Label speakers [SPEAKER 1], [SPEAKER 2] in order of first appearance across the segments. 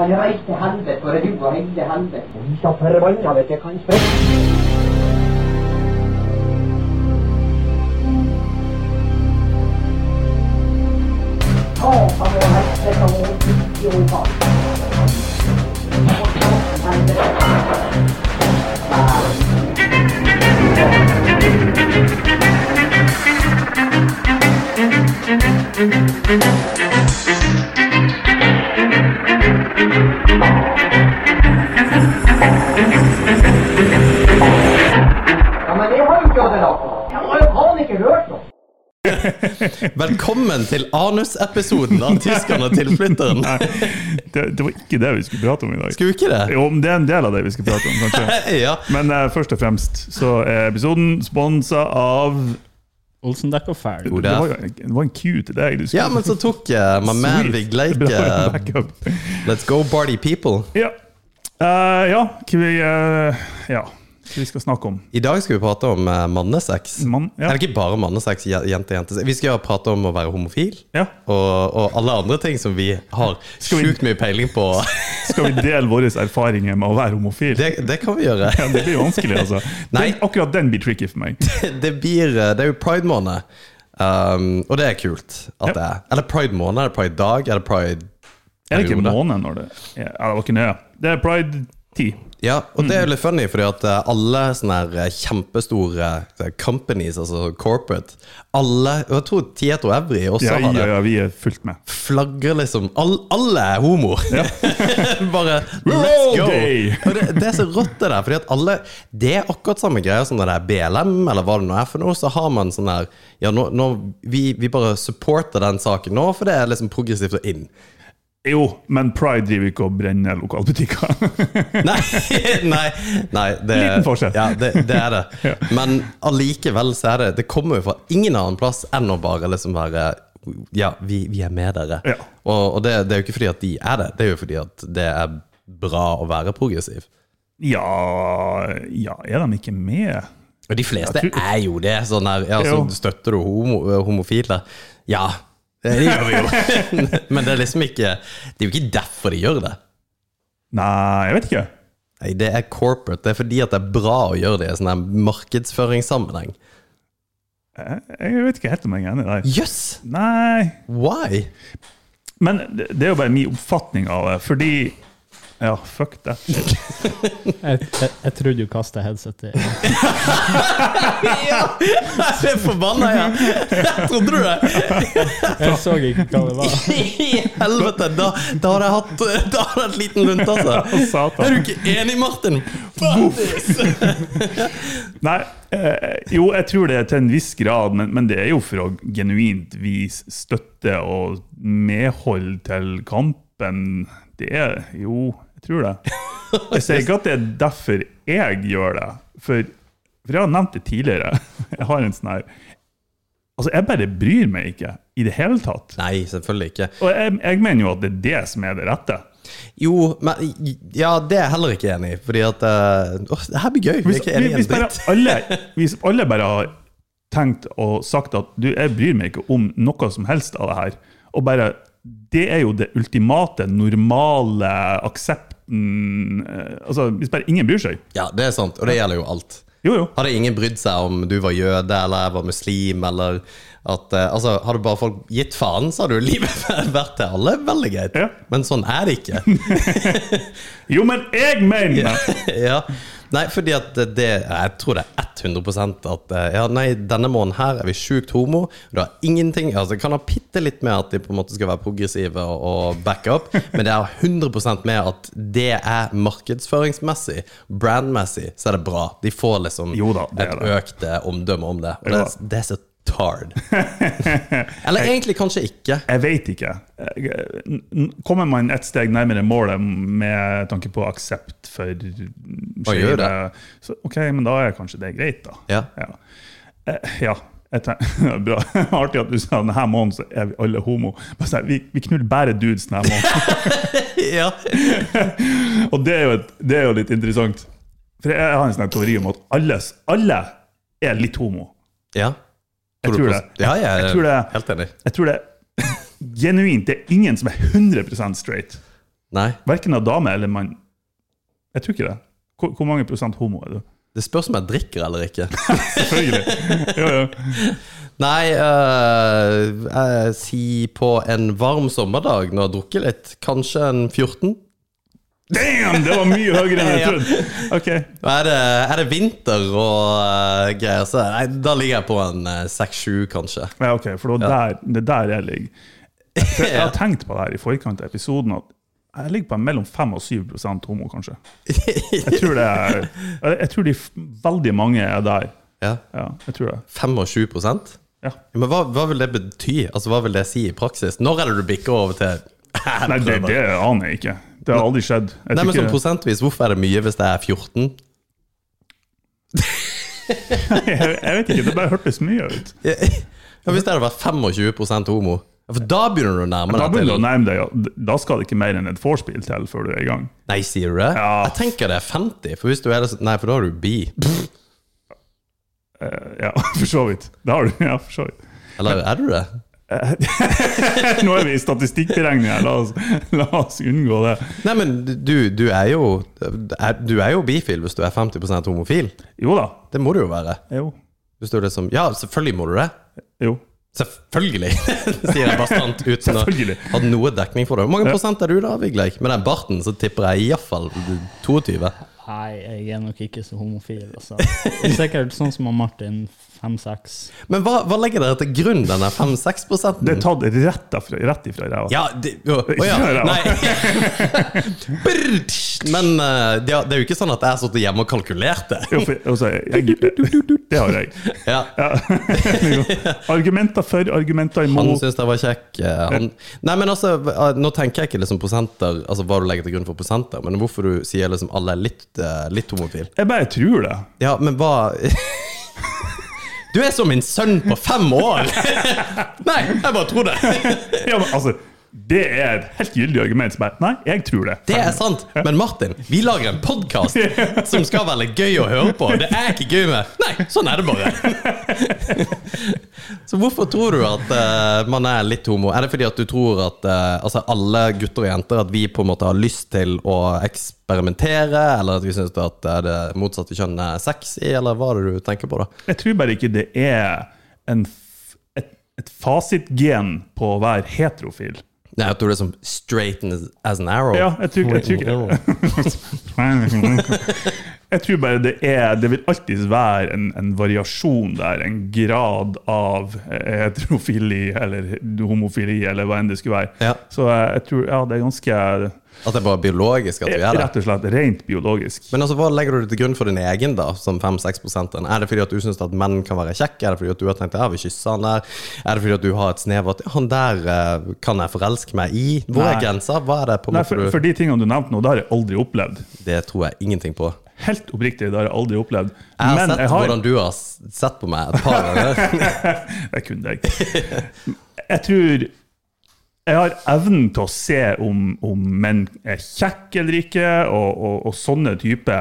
[SPEAKER 1] Han reiste til helvete og rua hele helvete.
[SPEAKER 2] Vi skal forbanna vet jeg kan spørre.
[SPEAKER 1] Å, han var helvete og fikk jo faen. Ja, men det har jo ikke Odin hatt. Jeg har jo faen ikke hørt noe.
[SPEAKER 3] Velkommen til anusepisoden av 'Tyskerne til flytteren'.
[SPEAKER 4] Nei, det, det var ikke det vi skulle prate om i dag.
[SPEAKER 3] Skulle ikke det?
[SPEAKER 4] Jo, men det er en del av det vi skal prate om, kanskje.
[SPEAKER 3] Ja.
[SPEAKER 4] Men eh, først og fremst så er episoden sponsa av
[SPEAKER 5] Olsen dekk og ferdig.
[SPEAKER 3] Jo,
[SPEAKER 4] det
[SPEAKER 3] det
[SPEAKER 4] var,
[SPEAKER 3] er.
[SPEAKER 4] jo en- det var en Q til deg. Du skulle-
[SPEAKER 3] ja, men så tok eh, my man
[SPEAKER 4] Sweet.
[SPEAKER 3] Vig Leike
[SPEAKER 4] Bra
[SPEAKER 3] eh,
[SPEAKER 4] backup.
[SPEAKER 3] Let's go party people.
[SPEAKER 4] Ja. Eh, ja, hva vi, eh, ja, hva vi skal snakke om.
[SPEAKER 3] I dag skal vi prate om eh, mannesex.
[SPEAKER 4] Mann, ja.
[SPEAKER 3] Eller ikke bare mannesex, je- jente, jente. Vi skal jo prate om å være homofil.
[SPEAKER 4] Ja.
[SPEAKER 3] Og, og alle andre ting som vi har
[SPEAKER 4] vi-
[SPEAKER 3] sjukt mye peiling på.
[SPEAKER 4] Skal vi dele våre erfaringer med å være homofil?
[SPEAKER 3] Det, det kan vi gjøre.
[SPEAKER 4] Ja, det blir vanskelig, altså.
[SPEAKER 3] Nei.
[SPEAKER 4] Den, akkurat den blir tricky for meg.
[SPEAKER 3] Det, blir, eh, det er jo pride-måned, um, og det er kult at
[SPEAKER 4] Ja.
[SPEAKER 3] det er. Eller pride-måned, er det pride-dag, er det pride
[SPEAKER 4] Er det ikke
[SPEAKER 3] Periode.
[SPEAKER 4] måned når det Ja, det var ikke nøye. Det er pride 10.
[SPEAKER 3] Ja, og
[SPEAKER 4] Mm.
[SPEAKER 3] det er jo litt funny, fordi at eh, alle sånne her eh, kjempestore eh, companies, altså corporate Alle, og jeg tror Tieto Evry også
[SPEAKER 4] Ja,
[SPEAKER 3] har det,
[SPEAKER 4] ja, ja, vi er fullt med.
[SPEAKER 3] flagrer liksom all, Alle er homoer! Bare
[SPEAKER 4] We're
[SPEAKER 3] let's
[SPEAKER 4] all
[SPEAKER 3] go!
[SPEAKER 4] gay!
[SPEAKER 3] Og det, det er så rått, det der, fordi at alle Det er akkurat samme greia som det der BLM, eller hva det nå er for noe, så har man sånn her Ja, nå, nå vi, vi bare supporter den saken nå, for det er liksom progressivt og inn.
[SPEAKER 4] Jo, men Pride driver ikke og brenner lokalbutikker.
[SPEAKER 3] Nei, nei, nei det,
[SPEAKER 4] Liten forskjell.
[SPEAKER 3] Ja, det, det er det.
[SPEAKER 4] Ja.
[SPEAKER 3] Men allikevel så er det Det kommer jo fra ingen annen plass enn å bare liksom være Ja, vi, vi er med dere.
[SPEAKER 4] Ja.
[SPEAKER 3] Og, og det, det er jo ikke fordi at de er det, det er jo fordi at det er bra å være progressiv.
[SPEAKER 4] ja, ja, er de ikke med?
[SPEAKER 3] Og de fleste
[SPEAKER 4] Jeg tror-
[SPEAKER 3] er jo det. Sånn her, ja, så
[SPEAKER 4] Jo.
[SPEAKER 3] støtter du homo, eh, homofile? Ja, det gjør vi jo. Men det er liksom ikke Det er jo ikke derfor de gjør det.
[SPEAKER 4] Nei, jeg vet ikke.
[SPEAKER 3] Nei, Det er corporate. Det er fordi at det er bra å gjøre det i sånn her markedsføringssammenheng.
[SPEAKER 4] Jeg, jeg vet ikke helt om jeg er enig der.
[SPEAKER 3] Jøss!
[SPEAKER 4] Nei,
[SPEAKER 3] Why?
[SPEAKER 4] men det det er jo bare min oppfatning av det, fordi Ja, fuck det.
[SPEAKER 5] Jeg, jeg, jeg trodde du kasta headsetet.
[SPEAKER 3] Ja! Jeg er forbanna, ja! Trodde du det?
[SPEAKER 5] Jeg så ikke hva det var.
[SPEAKER 3] I helvete! Da, da hadde jeg hatt Da hadde jeg hatt liten lunt, altså.
[SPEAKER 4] Satan.
[SPEAKER 3] Er du ikke enig, Martin? Fattis!
[SPEAKER 4] Nei, eh, jo, jeg tror det er til en viss grad, men, men det er jo for å genuint vise støtte og medhold til kampen. Det er jo Jeg tror det. Jeg sier ikke at det er derfor jeg gjør det, for, for jeg har nevnt det tidligere. Jeg har en sånn her Altså, jeg bare bryr meg ikke i det hele tatt.
[SPEAKER 3] Nei, selvfølgelig ikke.
[SPEAKER 4] Og jeg, jeg mener jo at det er det som er det rette.
[SPEAKER 3] Jo, men Ja, det er jeg heller ikke enig i, fordi at eh, Åh, det her blir gøy. Vi er
[SPEAKER 4] Hvis,
[SPEAKER 3] ikke enige i
[SPEAKER 4] hvis,
[SPEAKER 3] en
[SPEAKER 4] bare
[SPEAKER 3] dritt.
[SPEAKER 4] alle, hvis alle bare har tenkt og sagt at du, jeg bryr meg ikke om noe som helst av det her, og bare Det er jo det ultimate, normale aksepten eh, Altså, hvis bare ingen bryr seg.
[SPEAKER 3] Ja, det er sant, og det gjelder jo alt.
[SPEAKER 4] Jo, jo.
[SPEAKER 3] Hadde ingen brydd seg om du var jøde eller jeg var muslim, eller at eh, Altså, hadde bare folk gitt faen, så hadde jo livet vært til alle veldig greit.
[SPEAKER 4] Ja.
[SPEAKER 3] Men sånn er det ikke.
[SPEAKER 4] Jo, men jeg mener det!
[SPEAKER 3] ja. Nei, fordi at det, det- jeg tror det er 100 at eh, ja, nei, denne måneden her er vi sjukt homo. Det har ingenting, altså Det kan ha bitte litt med at de på en måte skal være progressive og, og backe opp, men det er 100 med at det er markedsføringsmessig, brandmessig, så er det bra. De får liksom
[SPEAKER 4] Jo da, det er
[SPEAKER 3] et
[SPEAKER 4] det.
[SPEAKER 3] økt eh, omdømme om det. Og
[SPEAKER 4] Jo
[SPEAKER 3] det,
[SPEAKER 4] da.
[SPEAKER 3] er- det er så tard. Eller egentlig kanskje ikke.
[SPEAKER 4] Jeg vet ikke. Jeg- n- Kommer man et steg nærmere målet med tanke på aksept for
[SPEAKER 3] gjør
[SPEAKER 4] skeive så- OK, men da er kanskje det greit, da.
[SPEAKER 3] Ja.
[SPEAKER 4] Ja. Eh, ja. Jeg tenker, bra. Artig at du sa denne måneden så er vi alle homo. Bare sånn, vi, vi knuller bare dudes denne måneden.
[SPEAKER 3] Ja.
[SPEAKER 4] Og det er, jo et, det er jo litt interessant. For jeg har en sånn her teori om at alle, alle er litt homo.
[SPEAKER 3] ja.
[SPEAKER 4] Jeg
[SPEAKER 3] du
[SPEAKER 4] tror
[SPEAKER 3] på-
[SPEAKER 4] det.
[SPEAKER 3] Ja, jeg,
[SPEAKER 4] Jeg tror det.
[SPEAKER 3] Helt enig.
[SPEAKER 4] Jeg tror det genuint det er ingen som er 100 straight.
[SPEAKER 3] Nei.
[SPEAKER 4] Verken av dame eller mann. Jeg tror ikke det. Hvor, hvor mange prosent homo er du?
[SPEAKER 3] Det spørs om jeg drikker eller ikke.
[SPEAKER 4] Selvfølgelig. Jo, jo.
[SPEAKER 3] Nei, øh, jeg sier på en varm sommerdag når jeg har drukket litt, kanskje en 14.
[SPEAKER 4] Damn, det var mye høyere enn jeg
[SPEAKER 3] Ja.
[SPEAKER 4] trodde! Ok,
[SPEAKER 3] Og Er det, er det vinter og øh, greier, så nei, da ligger jeg på en øh, 6-7, kanskje.
[SPEAKER 4] ja, ok, for det var der, det er der jeg ligger. For jeg har tenkt på det her i forkant av episoden, at jeg ligger på mellom 5 og 7 prosent homo, kanskje. Jeg tror, det er, jeg- jeg tror de f- veldig mange er der.
[SPEAKER 3] Ja.
[SPEAKER 4] Ja, jeg tror det.
[SPEAKER 3] 25 ja,
[SPEAKER 4] Ja.
[SPEAKER 3] Men hva, hva vil det bety? Altså, Hva vil det si i praksis? Når er det du bikker over til
[SPEAKER 4] Nei, det, det aner jeg ikke. Det har aldri skjedd. Jeg
[SPEAKER 3] Nei, men
[SPEAKER 4] tror
[SPEAKER 3] sånn
[SPEAKER 4] ikke-
[SPEAKER 3] prosentvis, hvorfor er det mye hvis det er 14?
[SPEAKER 4] jeg, jeg vet ikke, det bare hørtes mye ut.
[SPEAKER 3] Ja, hvis det hadde vært 25 homo, Ja, for da begynner du å nærme
[SPEAKER 4] Da
[SPEAKER 3] deg
[SPEAKER 4] begynner du å
[SPEAKER 3] til
[SPEAKER 4] nærme deg, og da skal det ikke mer enn et vorspiel til før du er i gang.
[SPEAKER 3] Nei, sier du det?
[SPEAKER 4] Ja.
[SPEAKER 3] Jeg tenker det er 50, for hvis du er det, så- Nei, for da er du bi.
[SPEAKER 4] Eh, Ja, for så vidt. Det har du, ja, for så vidt.
[SPEAKER 3] Eller er du det?
[SPEAKER 4] Nå er vi i statistikkberegning her, la oss, la oss unngå det.
[SPEAKER 3] Nei, men du, du er jo er, Du er jo bifil hvis du er 50 homofil.
[SPEAKER 4] Jo da.
[SPEAKER 3] Det må du jo være.
[SPEAKER 4] Jo.
[SPEAKER 3] Hvis du er det som Ja, selvfølgelig må du det.
[SPEAKER 4] jo.
[SPEAKER 3] Selvfølgelig! sier jeg bastant uten å
[SPEAKER 4] Selvfølgelig.
[SPEAKER 3] ha noe dekning for det. Hvor mange prosent er du da, Vigleik? Med den barten så tipper jeg iallfall 22.
[SPEAKER 5] Nei, jeg er nok ikke så homofil, altså. Det er sikkert sånn som han Martin, 5-6.
[SPEAKER 3] Men hva, hva legger dere til grunn, denne 5-6 prosenten?
[SPEAKER 4] Det er tatt rett, derfra, rett ifra ræva.
[SPEAKER 3] Ja, det, å, å ja.
[SPEAKER 4] Ikke
[SPEAKER 3] Nei. Brr. Men eh, det, er- det er jo ikke sånn at jeg har sittet hjemme og kalkulert det.
[SPEAKER 4] Jo, for, altså, jeg, det har jeg.
[SPEAKER 3] Ja.
[SPEAKER 4] Jo. Argumenter for, argumenter
[SPEAKER 3] Han
[SPEAKER 4] imot.
[SPEAKER 3] syns jeg var kjekk. eh, Han, nei, men altså, eh, nå tenker jeg ikke liksom prosenter, altså hva du legger til grunn for prosenter, men hvorfor du sier liksom alle er litt, eh, litt homofil.
[SPEAKER 4] Jeg bare tror det.
[SPEAKER 3] Ja, men hva Du er som min sønn på fem år! Nei, jeg bare tror det.
[SPEAKER 4] Ja, men altså, det er et helt gyldig argument. som er, Nei, jeg tror det.
[SPEAKER 3] Det er sant. Men Martin, vi lager en podkast som skal være litt gøy å høre på. Det er ikke gøy med Nei, sånn er det bare. Så hvorfor tror du at eh, man er litt homo? Er det fordi at du tror at eh, altså alle gutter og jenter At vi på en måte har lyst til å eksperimentere, eller at vi syns at eh, det motsatte kjønn er sexy, eller hva er det du tenker på, da?
[SPEAKER 4] Jeg tror bare ikke det er en, f- et, et fasitgen på å være heterofil.
[SPEAKER 3] Nei, jeg tror det er som straight as- as an arrow.
[SPEAKER 4] Ja, jeg tror, jeg tror ikke Jeg tror bare det er Det vil alltid være en, en variasjon der, en grad av eh, heterofili eller homofili, eller hva enn det skulle være.
[SPEAKER 3] Ja.
[SPEAKER 4] Så eh, jeg tror ja, det er ganske
[SPEAKER 3] At det er bare biologisk at vi er det.
[SPEAKER 4] Rett og slett rent biologisk.
[SPEAKER 3] Men altså, hva legger du til grunn for din egen, da, som 5-6 Er det fordi at du syns at menn kan være kjekke? Er det fordi at du har tenkt ja, vi kysser han der? Er det fordi at du har et snev av at han der eh, kan jeg forelske meg i? Hvor
[SPEAKER 4] Nei.
[SPEAKER 3] er grensa? Hva er det på en
[SPEAKER 4] Nei,
[SPEAKER 3] måte
[SPEAKER 4] for,
[SPEAKER 3] du
[SPEAKER 4] for de tingene du nevnte nå, det har jeg aldri opplevd.
[SPEAKER 3] Det tror jeg ingenting på.
[SPEAKER 4] Helt oppriktig, det har jeg aldri opplevd.
[SPEAKER 3] Jeg har
[SPEAKER 4] Men
[SPEAKER 3] sett hvordan du har s- sett på meg et par ganger.
[SPEAKER 4] Jeg kunne det ikke. Jeg tror jeg har evnen til å se om, om menn er kjekke eller ikke, og, og, og sånne type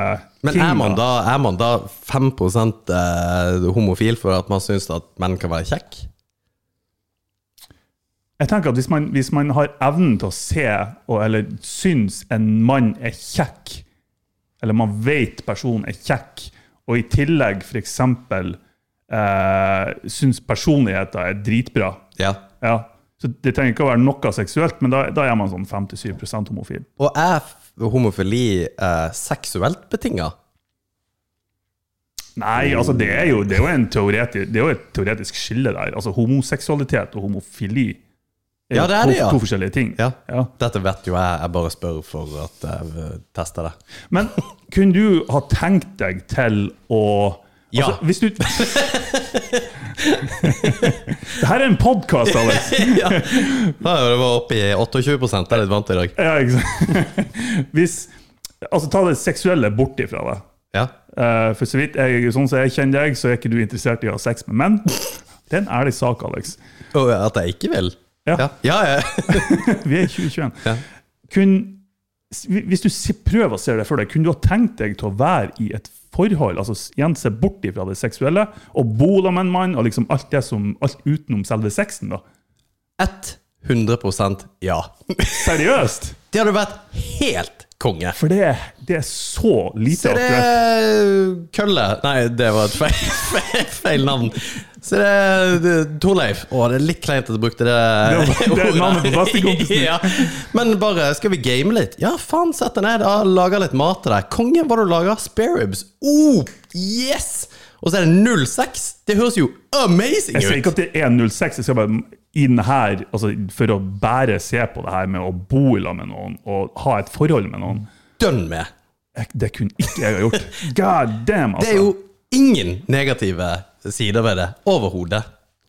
[SPEAKER 3] Men
[SPEAKER 4] ting.
[SPEAKER 3] er man da, er man da 5 eh, homofil for at man syns at menn kan være kjekk?
[SPEAKER 4] Jeg tenker at hvis man, hvis man har evnen til å se, og, eller syns en mann er kjekk, eller man vet personen er kjekk, og i tillegg f.eks. Eh, syns personligheten er dritbra
[SPEAKER 3] Ja.
[SPEAKER 4] ja. Så Det trenger ikke å være noe seksuelt, men da, da er man sånn 5-7 homofil.
[SPEAKER 3] Og er f- homofili eh, seksuelt betinga?
[SPEAKER 4] Nei, altså det er jo, det er jo, en teoreti- det er jo et teoretisk skille der. Altså Homoseksualitet og homofili er,
[SPEAKER 3] Ja,
[SPEAKER 4] jo
[SPEAKER 3] det er
[SPEAKER 4] to,
[SPEAKER 3] det, ja.
[SPEAKER 4] to forskjellige ting.
[SPEAKER 3] Ja.
[SPEAKER 4] Ja.
[SPEAKER 3] Dette vet jo jeg, jeg bare spør for at jeg vil teste det.
[SPEAKER 4] Men kunne du ha tenkt deg til å
[SPEAKER 3] Ja.
[SPEAKER 4] Altså, hvis du Det her er en podkast, Alex!
[SPEAKER 3] ja. Ja, Det var oppe i 28 jeg er litt vant til i dag.
[SPEAKER 4] Ja, ikke sant? Hvis Altså, ta det seksuelle bort ifra deg.
[SPEAKER 3] Ja.
[SPEAKER 4] Eh, for så vidt jeg, sånn som jeg kjenner deg, så er ikke du interessert i å ha sex med menn. Det er en ærlig sak, Alex.
[SPEAKER 3] Og at jeg ikke vil?
[SPEAKER 4] Ja.
[SPEAKER 3] Ja, ja, ja.
[SPEAKER 4] Vi er i 2021.
[SPEAKER 3] Ja.
[SPEAKER 4] Kun, s- hvis du se- prøver å se det for deg, kunne du ha tenkt deg til å være i et forhold, altså s- igjen se bort ifra det seksuelle, og bo sammen med en mann, og liksom alt det som, alt utenom selve sexen, da?
[SPEAKER 3] 100 ja.
[SPEAKER 4] Seriøst?
[SPEAKER 3] Det hadde vært helt konge.
[SPEAKER 4] For det, det er så lite
[SPEAKER 3] Så det
[SPEAKER 4] aktuelt.
[SPEAKER 3] er Kølle Nei, det var et feil, feil, feil navn. Så det er det- Torleif. Å, det er litt kleint at du brukte det,
[SPEAKER 4] Det var- det er navnet på bestekompisen.
[SPEAKER 3] ja. Men bare, skal vi game litt? Ja, faen, sett deg ned. da, Lager litt mat til deg. Konge, hva du lager? Spareribs. Oh, yes! Og så er det 06. Det høres jo amazing
[SPEAKER 4] Jeg sier
[SPEAKER 3] ut.
[SPEAKER 4] ikke at det er 1,06. Jeg skal bare inn her altså, for å bare se på det her med å bo i lag med noen og ha et forhold med noen.
[SPEAKER 3] Dønn med.
[SPEAKER 4] Jeg, det kunne ikke jeg ha gjort. God damn, altså.
[SPEAKER 3] Det er jo ingen negative sider ved det overhodet.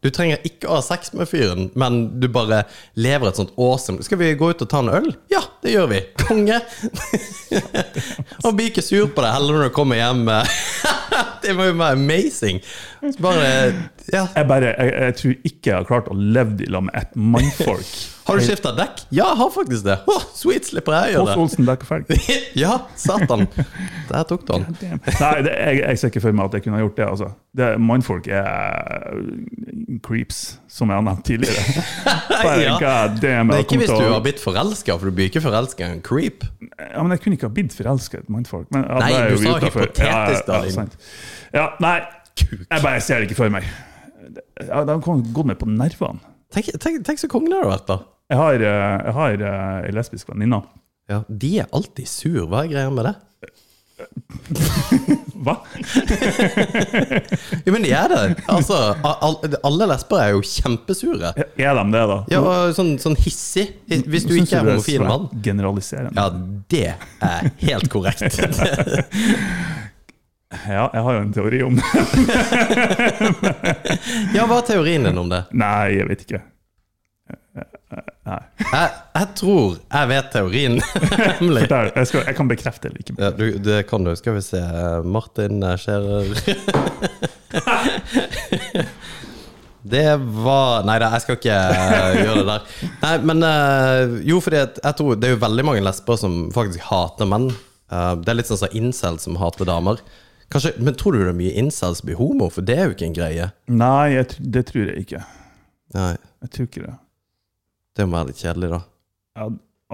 [SPEAKER 3] Du trenger ikke å ha sex med fyren, men du bare lever et sånt awesome Skal vi gå ut og ta en øl? Ja, det gjør vi. Konge! Han blir ikke sur på deg heller når du kommer hjem. Det må jo være amazing. Så bare Ja.
[SPEAKER 4] jeg, bare, jeg, jeg tror ikke jeg har klart å leve i lag med et mannfolk.
[SPEAKER 3] Har du skifta dekk? Ja, jeg har faktisk det. Å, sweet, slipper jeg å
[SPEAKER 4] Hos
[SPEAKER 3] gjøre det.
[SPEAKER 4] Olsen Bekkefelg.
[SPEAKER 3] Ja, satan. Der tok du den.
[SPEAKER 4] Nei, det, jeg, jeg ser ikke for meg at jeg kunne ha gjort det. altså. Det, mannfolk er eh, creeps, som jeg har nevnt tidligere. Bare,
[SPEAKER 3] Ja.
[SPEAKER 4] God damn,
[SPEAKER 3] Det er
[SPEAKER 4] jeg
[SPEAKER 3] ikke
[SPEAKER 4] kommer
[SPEAKER 3] hvis
[SPEAKER 4] til
[SPEAKER 3] du
[SPEAKER 4] å-
[SPEAKER 3] har blitt forelska, for du blir ikke forelska i en creep.
[SPEAKER 4] Ja, men jeg kunne ikke ha blitt forelska i et mannfolk. Men, ja,
[SPEAKER 3] Nei,
[SPEAKER 4] da er
[SPEAKER 3] du
[SPEAKER 4] jeg jo
[SPEAKER 3] sa
[SPEAKER 4] utenfor.
[SPEAKER 3] hypotetisk,
[SPEAKER 4] Ja, ja,
[SPEAKER 3] Dahlin.
[SPEAKER 4] Ja, sant. ja, nei,
[SPEAKER 3] Kuk.
[SPEAKER 4] jeg bare ser det ikke for meg. Ja, De kan gå med på nervene.
[SPEAKER 3] Tenk, tenk, tenk så kongen det hadde vært, da.
[SPEAKER 4] Jeg har, eh, jeg har eh, ei lesbisk venninne.
[SPEAKER 3] Ja, De er alltid sur, hva er greia med det?
[SPEAKER 4] Hva?
[SPEAKER 3] Jo, men de er det! Altså, a- al- alle lesber er jo kjempesure.
[SPEAKER 4] Er de det, da?
[SPEAKER 3] Ja, og sånn, sånn hissig. Hvis du
[SPEAKER 4] Syns
[SPEAKER 3] ikke er
[SPEAKER 4] det
[SPEAKER 3] homofil
[SPEAKER 4] svært
[SPEAKER 3] mann.
[SPEAKER 4] Generaliserende.
[SPEAKER 3] Ja, det er helt korrekt.
[SPEAKER 4] Ja, jeg har jo en teori om det.
[SPEAKER 3] Ja, hva er teorien din om det?
[SPEAKER 4] Nei, jeg vet ikke. Nei.
[SPEAKER 3] Jeg, jeg tror jeg vet teorien, nemlig.
[SPEAKER 4] Der, jeg, skal, jeg kan bekrefte eller ikke.
[SPEAKER 3] Ja, du, det kan du. Skal vi se. Martin Skjærer Det var Nei da, jeg skal ikke eh, gjøre det der. Nei, men eh, Jo, fordi at jeg tror det er jo veldig mange lesber som faktisk hater menn. Eh, det er litt sånn som incels som hater damer. Kanskje, men tror du det er mye incels blir homo? For det er jo ikke en greie.
[SPEAKER 4] Nei, jeg, tr- det tror jeg ikke.
[SPEAKER 3] Nei,
[SPEAKER 4] Jeg tror ikke det.
[SPEAKER 3] Det må være litt kjedelig, da.
[SPEAKER 4] Ja,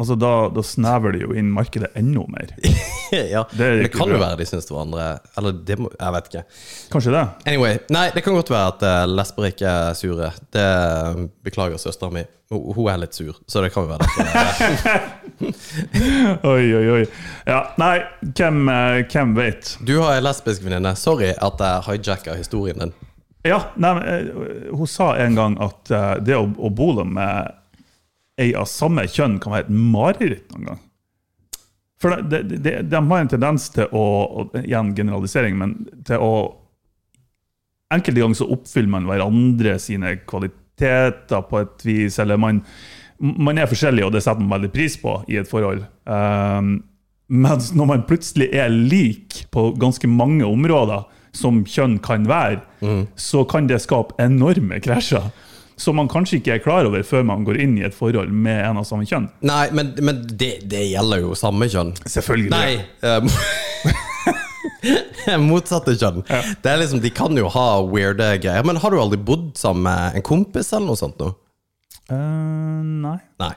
[SPEAKER 4] altså, da, da snever det jo inn markedet enda mer.
[SPEAKER 3] ja,
[SPEAKER 4] Det er
[SPEAKER 3] men det
[SPEAKER 4] ikke
[SPEAKER 3] kan jo
[SPEAKER 4] bra.
[SPEAKER 3] være de syns det var andre Eller det må, jeg vet ikke.
[SPEAKER 4] Kanskje det?
[SPEAKER 3] Anyway, nei, det kan godt være at eh, lesber ikke er sure. Det eh, beklager søstera mi. Hun, hun er litt sur, så det kan jo være derfor.
[SPEAKER 4] Oi, oi, oi. Ja, nei, hvem, eh, hvem vet?
[SPEAKER 3] Du har ei lesbisk venninne. Sorry at jeg hijacka historien din.
[SPEAKER 4] Ja, nei, men, eh, hun sa en gang at eh, det å, å bo sammen med ei av samme kjønn kan være et mareritt noen gang. For det, det, det, de har en tendens til å og Igjen generalisering, men til å Enkelte ganger så oppfyller man hverandre sine kvaliteter på et vis, eller man, man er forskjellig, og det setter man veldig pris på i et forhold. Um, mens når man plutselig er lik på ganske mange områder, som kjønn kan være,
[SPEAKER 3] Mm.
[SPEAKER 4] så kan det skape enorme krasjer. Som man kanskje ikke er klar over før man går inn i et forhold med en av samme kjønn.
[SPEAKER 3] Nei, men, men det, det gjelder jo samme kjønn.
[SPEAKER 4] Selvfølgelig.
[SPEAKER 3] Nei eh, Motsatte kjønn. Det er liksom, De kan jo ha weirde greier. Men har du aldri bodd sammen med en kompis eller noe sånt? nå?
[SPEAKER 4] Eh, nei.
[SPEAKER 3] Nei.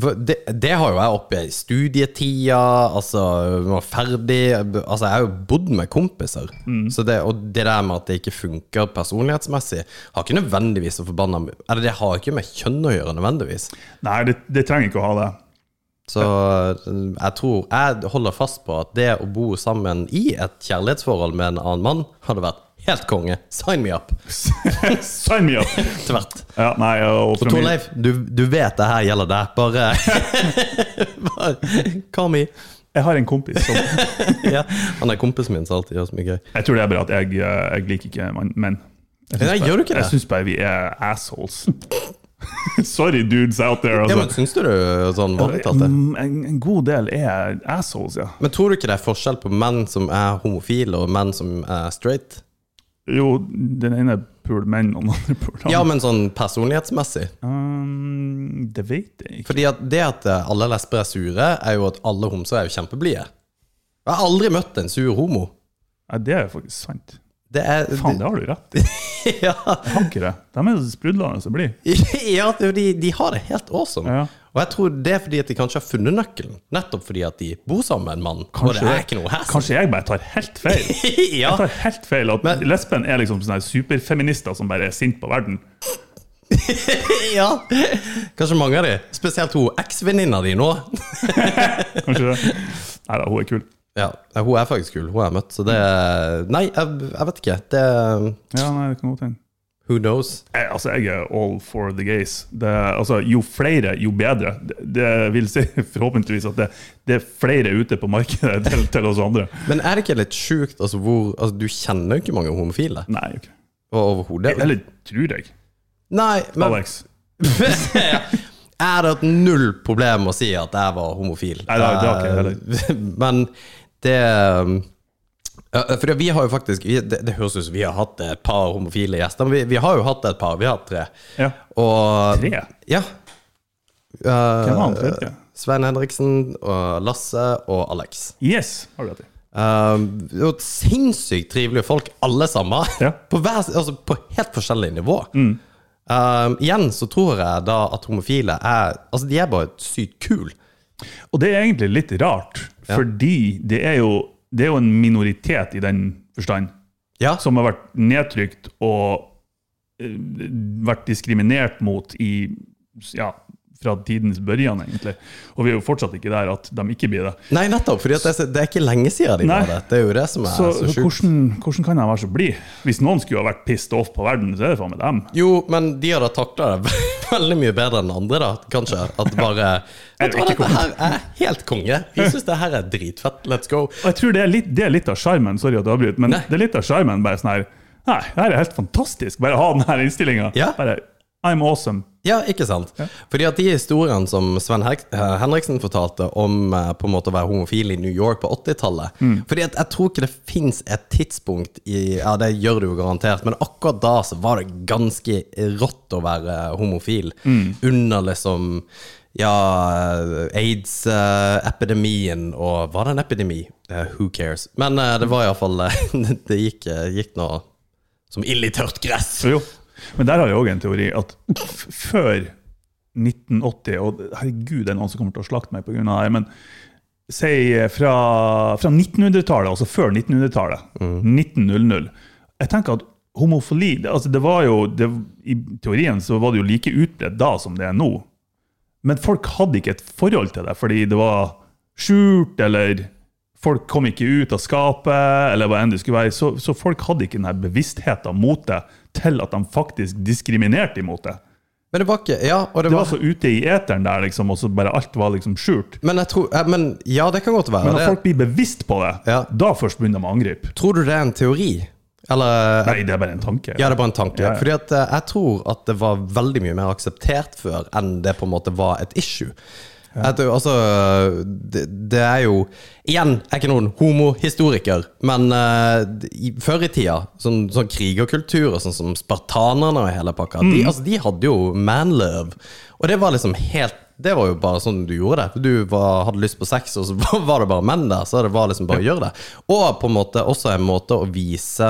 [SPEAKER 3] For det, det har jo jeg oppe i studietida, altså man var ferdig Altså, jeg har jo bodd med kompiser, så det, og det der med at det ikke funker personlighetsmessig, har ikke nødvendigvis å forbanna Eller det har ikke med kjønn å gjøre, nødvendigvis.
[SPEAKER 4] nei det, det trenger ikke å ha det.
[SPEAKER 3] Så jeg tror Jeg holder fast på at det å bo sammen i et kjærlighetsforhold med en annen mann, hadde vært helt konge. Sign me up.
[SPEAKER 4] Sign me up!
[SPEAKER 3] Tvert.
[SPEAKER 4] Ja, nei, og fra min-
[SPEAKER 3] Torleif, du, du vet det her gjelder deg. Bare, bare Call me.
[SPEAKER 4] jeg har en kompis som
[SPEAKER 3] ja. Han er kompisen min som alltid gjør så mye gøy.
[SPEAKER 4] Jeg tror det er bare at jeg, eh, jeg liker ikke mann- menn. Jeg syns
[SPEAKER 3] Nei, gjør
[SPEAKER 4] bare-
[SPEAKER 3] du ikke det?
[SPEAKER 4] Jeg syns bare vi er assholes. Sorry, dudes out there.
[SPEAKER 3] Ja, men
[SPEAKER 4] Altså.
[SPEAKER 3] Syns du det er sånn vanlig talt det?
[SPEAKER 4] Mm, en, en god del er assholes, ja.
[SPEAKER 3] Men tror du ikke det er forskjell på menn som er homofile, og menn som er straight?
[SPEAKER 4] Jo, den ene er pul menn, og den andre er pul
[SPEAKER 3] Ja, men sånn personlighetsmessig.
[SPEAKER 4] um, Det vet jeg ikke.
[SPEAKER 3] Fordi at det at eh, alle lesber er sure, er jo at alle homser er jo kjempeblide. Jeg har aldri møtt en sur homo.
[SPEAKER 4] Ja, det er faktisk sant.
[SPEAKER 3] Det er
[SPEAKER 4] Faen, det har du rett i.
[SPEAKER 3] Ja,
[SPEAKER 4] Jeg har ikke det. De er sprudlende og blide.
[SPEAKER 3] ja det- de, de har det helt awesome.
[SPEAKER 4] Ja.
[SPEAKER 3] Og jeg tror det er fordi at de kanskje har funnet nøkkelen. Nettopp fordi at de bor sammen med en mann. og det er ikke noe hassle.
[SPEAKER 4] kanskje jeg bare tar helt feil.
[SPEAKER 3] Ja.
[SPEAKER 4] Jeg tar helt feil at
[SPEAKER 3] Men-
[SPEAKER 4] lesben er liksom sånne her superfeminister som bare er sint på verden.
[SPEAKER 3] ja. Kanskje mange av de. Spesielt hun eksvenninna di nå.
[SPEAKER 4] Kanskje det? Nei da, hun er kul.
[SPEAKER 3] Ja, hun er faktisk kul. Hun har jeg møtt, så det Nei, jeg, jeg vet ikke. Det
[SPEAKER 4] Ja, nei, det kan godt hende.
[SPEAKER 3] Who knows?
[SPEAKER 4] Jeg, altså, jeg er all for the gays. Det, altså, jo flere, jo bedre. Det, det vil si forhåpentligvis at det, det er flere ute på markedet til, til oss andre.
[SPEAKER 3] Men er det ikke litt sjukt altså, hvor altså, Du kjenner jo ikke mange homofile
[SPEAKER 4] Nei, ok.
[SPEAKER 3] og- overhodet.
[SPEAKER 4] Eller tror jeg.
[SPEAKER 3] Nei, men
[SPEAKER 4] Alex.
[SPEAKER 3] Jeg hadde hatt null problem med å si at jeg var homofil.
[SPEAKER 4] Nei, det- det har ikke
[SPEAKER 3] Men det um, eh, For vi har jo faktisk vi- Det, det høres ut som vi har hatt et par homofile gjester, men vi, vi har jo hatt et par. Vi har hatt tre.
[SPEAKER 4] Ja.
[SPEAKER 3] Og
[SPEAKER 4] Tre?
[SPEAKER 3] Ja.
[SPEAKER 4] Hvem var
[SPEAKER 3] Uh,
[SPEAKER 4] han tredje?
[SPEAKER 3] Svein Henriksen og Lasse og Alex.
[SPEAKER 4] Yes, har du rett i.
[SPEAKER 3] Um, det var sinnssykt trivelige folk, alle sammen.
[SPEAKER 4] Ja. Mm.
[SPEAKER 3] På, hver, altså, på helt forskjellig nivå. Um, igjen så tror jeg da at homofile er Altså, de er bare sykt kule.
[SPEAKER 4] Og det er egentlig litt rart, fordi det er, jo, det er jo en minoritet i den forstand
[SPEAKER 3] Ja.
[SPEAKER 4] som har vært nedtrykt og eh, vært diskriminert mot i ja, fra tidens børjan, egentlig. Og vi er jo fortsatt ikke der at de ikke blir det.
[SPEAKER 3] Nei, nettopp, for det, er så- det er ikke lenge siden de
[SPEAKER 4] Nei.
[SPEAKER 3] var det. Det er jo det som er
[SPEAKER 4] Så,
[SPEAKER 3] så,
[SPEAKER 4] så
[SPEAKER 3] sjukt.
[SPEAKER 4] hvordan, hvordan kan de være så blide? Hvis noen skulle ha vært pissed off på verden, så er det faen meg dem.
[SPEAKER 3] Jo, men de hadde takla det veldig mye bedre enn andre, da, kanskje. At bare Jeg tror dette her er helt konge. Vi syns det her er dritfett. Let's go.
[SPEAKER 4] Og jeg tror det er litt, det er litt av sjarmen, sorry at jeg avbryter, men
[SPEAKER 3] Nei.
[SPEAKER 4] det er litt av sjarmen bare sånn her Nei, det her er helt fantastisk. Bare ha den her innstillinga.
[SPEAKER 3] Ja.
[SPEAKER 4] Bare I'm awesome.
[SPEAKER 3] Ja, ikke sant? Fordi at de historiene som Sven Hek- eh, Henriksen fortalte om eh, på en måte å være homofil i New York på 80-tallet
[SPEAKER 4] Mm.
[SPEAKER 3] Fordi at jeg tror ikke det fins et tidspunkt i Ja, det gjør det jo garantert, men akkurat da så var det ganske rått å være homofil.
[SPEAKER 4] Mm.
[SPEAKER 3] Under liksom ja, aids-epidemien og Var det en epidemi? Eh, who cares? Men eh, det var iallfall Det gikk, eh, gikk nå som ild i tørt gress.
[SPEAKER 4] Jo. Men der har jeg òg en teori at f- før 1980 Og herregud, det er noen som kommer til å slakte meg pga. det her, men si eh, fra, fra 1900-tallet, altså før 1900-tallet, 1900 Jeg tenker at homofili det- altså det var jo, det, I teorien så var det jo like utbredt da som det er nå. Men folk hadde ikke et forhold til det, fordi det var skjult, eller folk kom ikke ut av skapet, eller hva enn det skulle være. Så, så folk hadde ikke denne bevisstheten mot det, til at de faktisk diskriminerte imot det.
[SPEAKER 3] Men det var ikke Ja, og
[SPEAKER 4] Det var så ute i eteren der, liksom, og så bare alt var liksom skjult.
[SPEAKER 3] Men jeg tror eh, men, Ja, det kan godt være.
[SPEAKER 4] Men når
[SPEAKER 3] det,
[SPEAKER 4] folk blir bevisst på det,
[SPEAKER 3] Ja.
[SPEAKER 4] da først begynner de å angripe.
[SPEAKER 3] Tror du det er en teori? Eller
[SPEAKER 4] Nei, det er bare en tanke.
[SPEAKER 3] Ja, det er bare en tanke.
[SPEAKER 4] Ja, ja.
[SPEAKER 3] Fordi at eh, jeg tror at det var veldig mye mer akseptert før enn det på en måte var et issue. Jeg tror, altså, det, det er jo Igjen, jeg er ikke noen homohistoriker, men eh, i, før i tida, sånn, sånn krigerkultur og sånn som spartanerne og hele pakka, de,
[SPEAKER 4] Mm.
[SPEAKER 3] altså, de hadde jo manlove. Og det var liksom helt det var jo bare sånn du gjorde det. Du var, hadde lyst på sex, og så var- var det bare menn der. Så det var liksom bare å gjøre det. Og på en måte også en måte å vise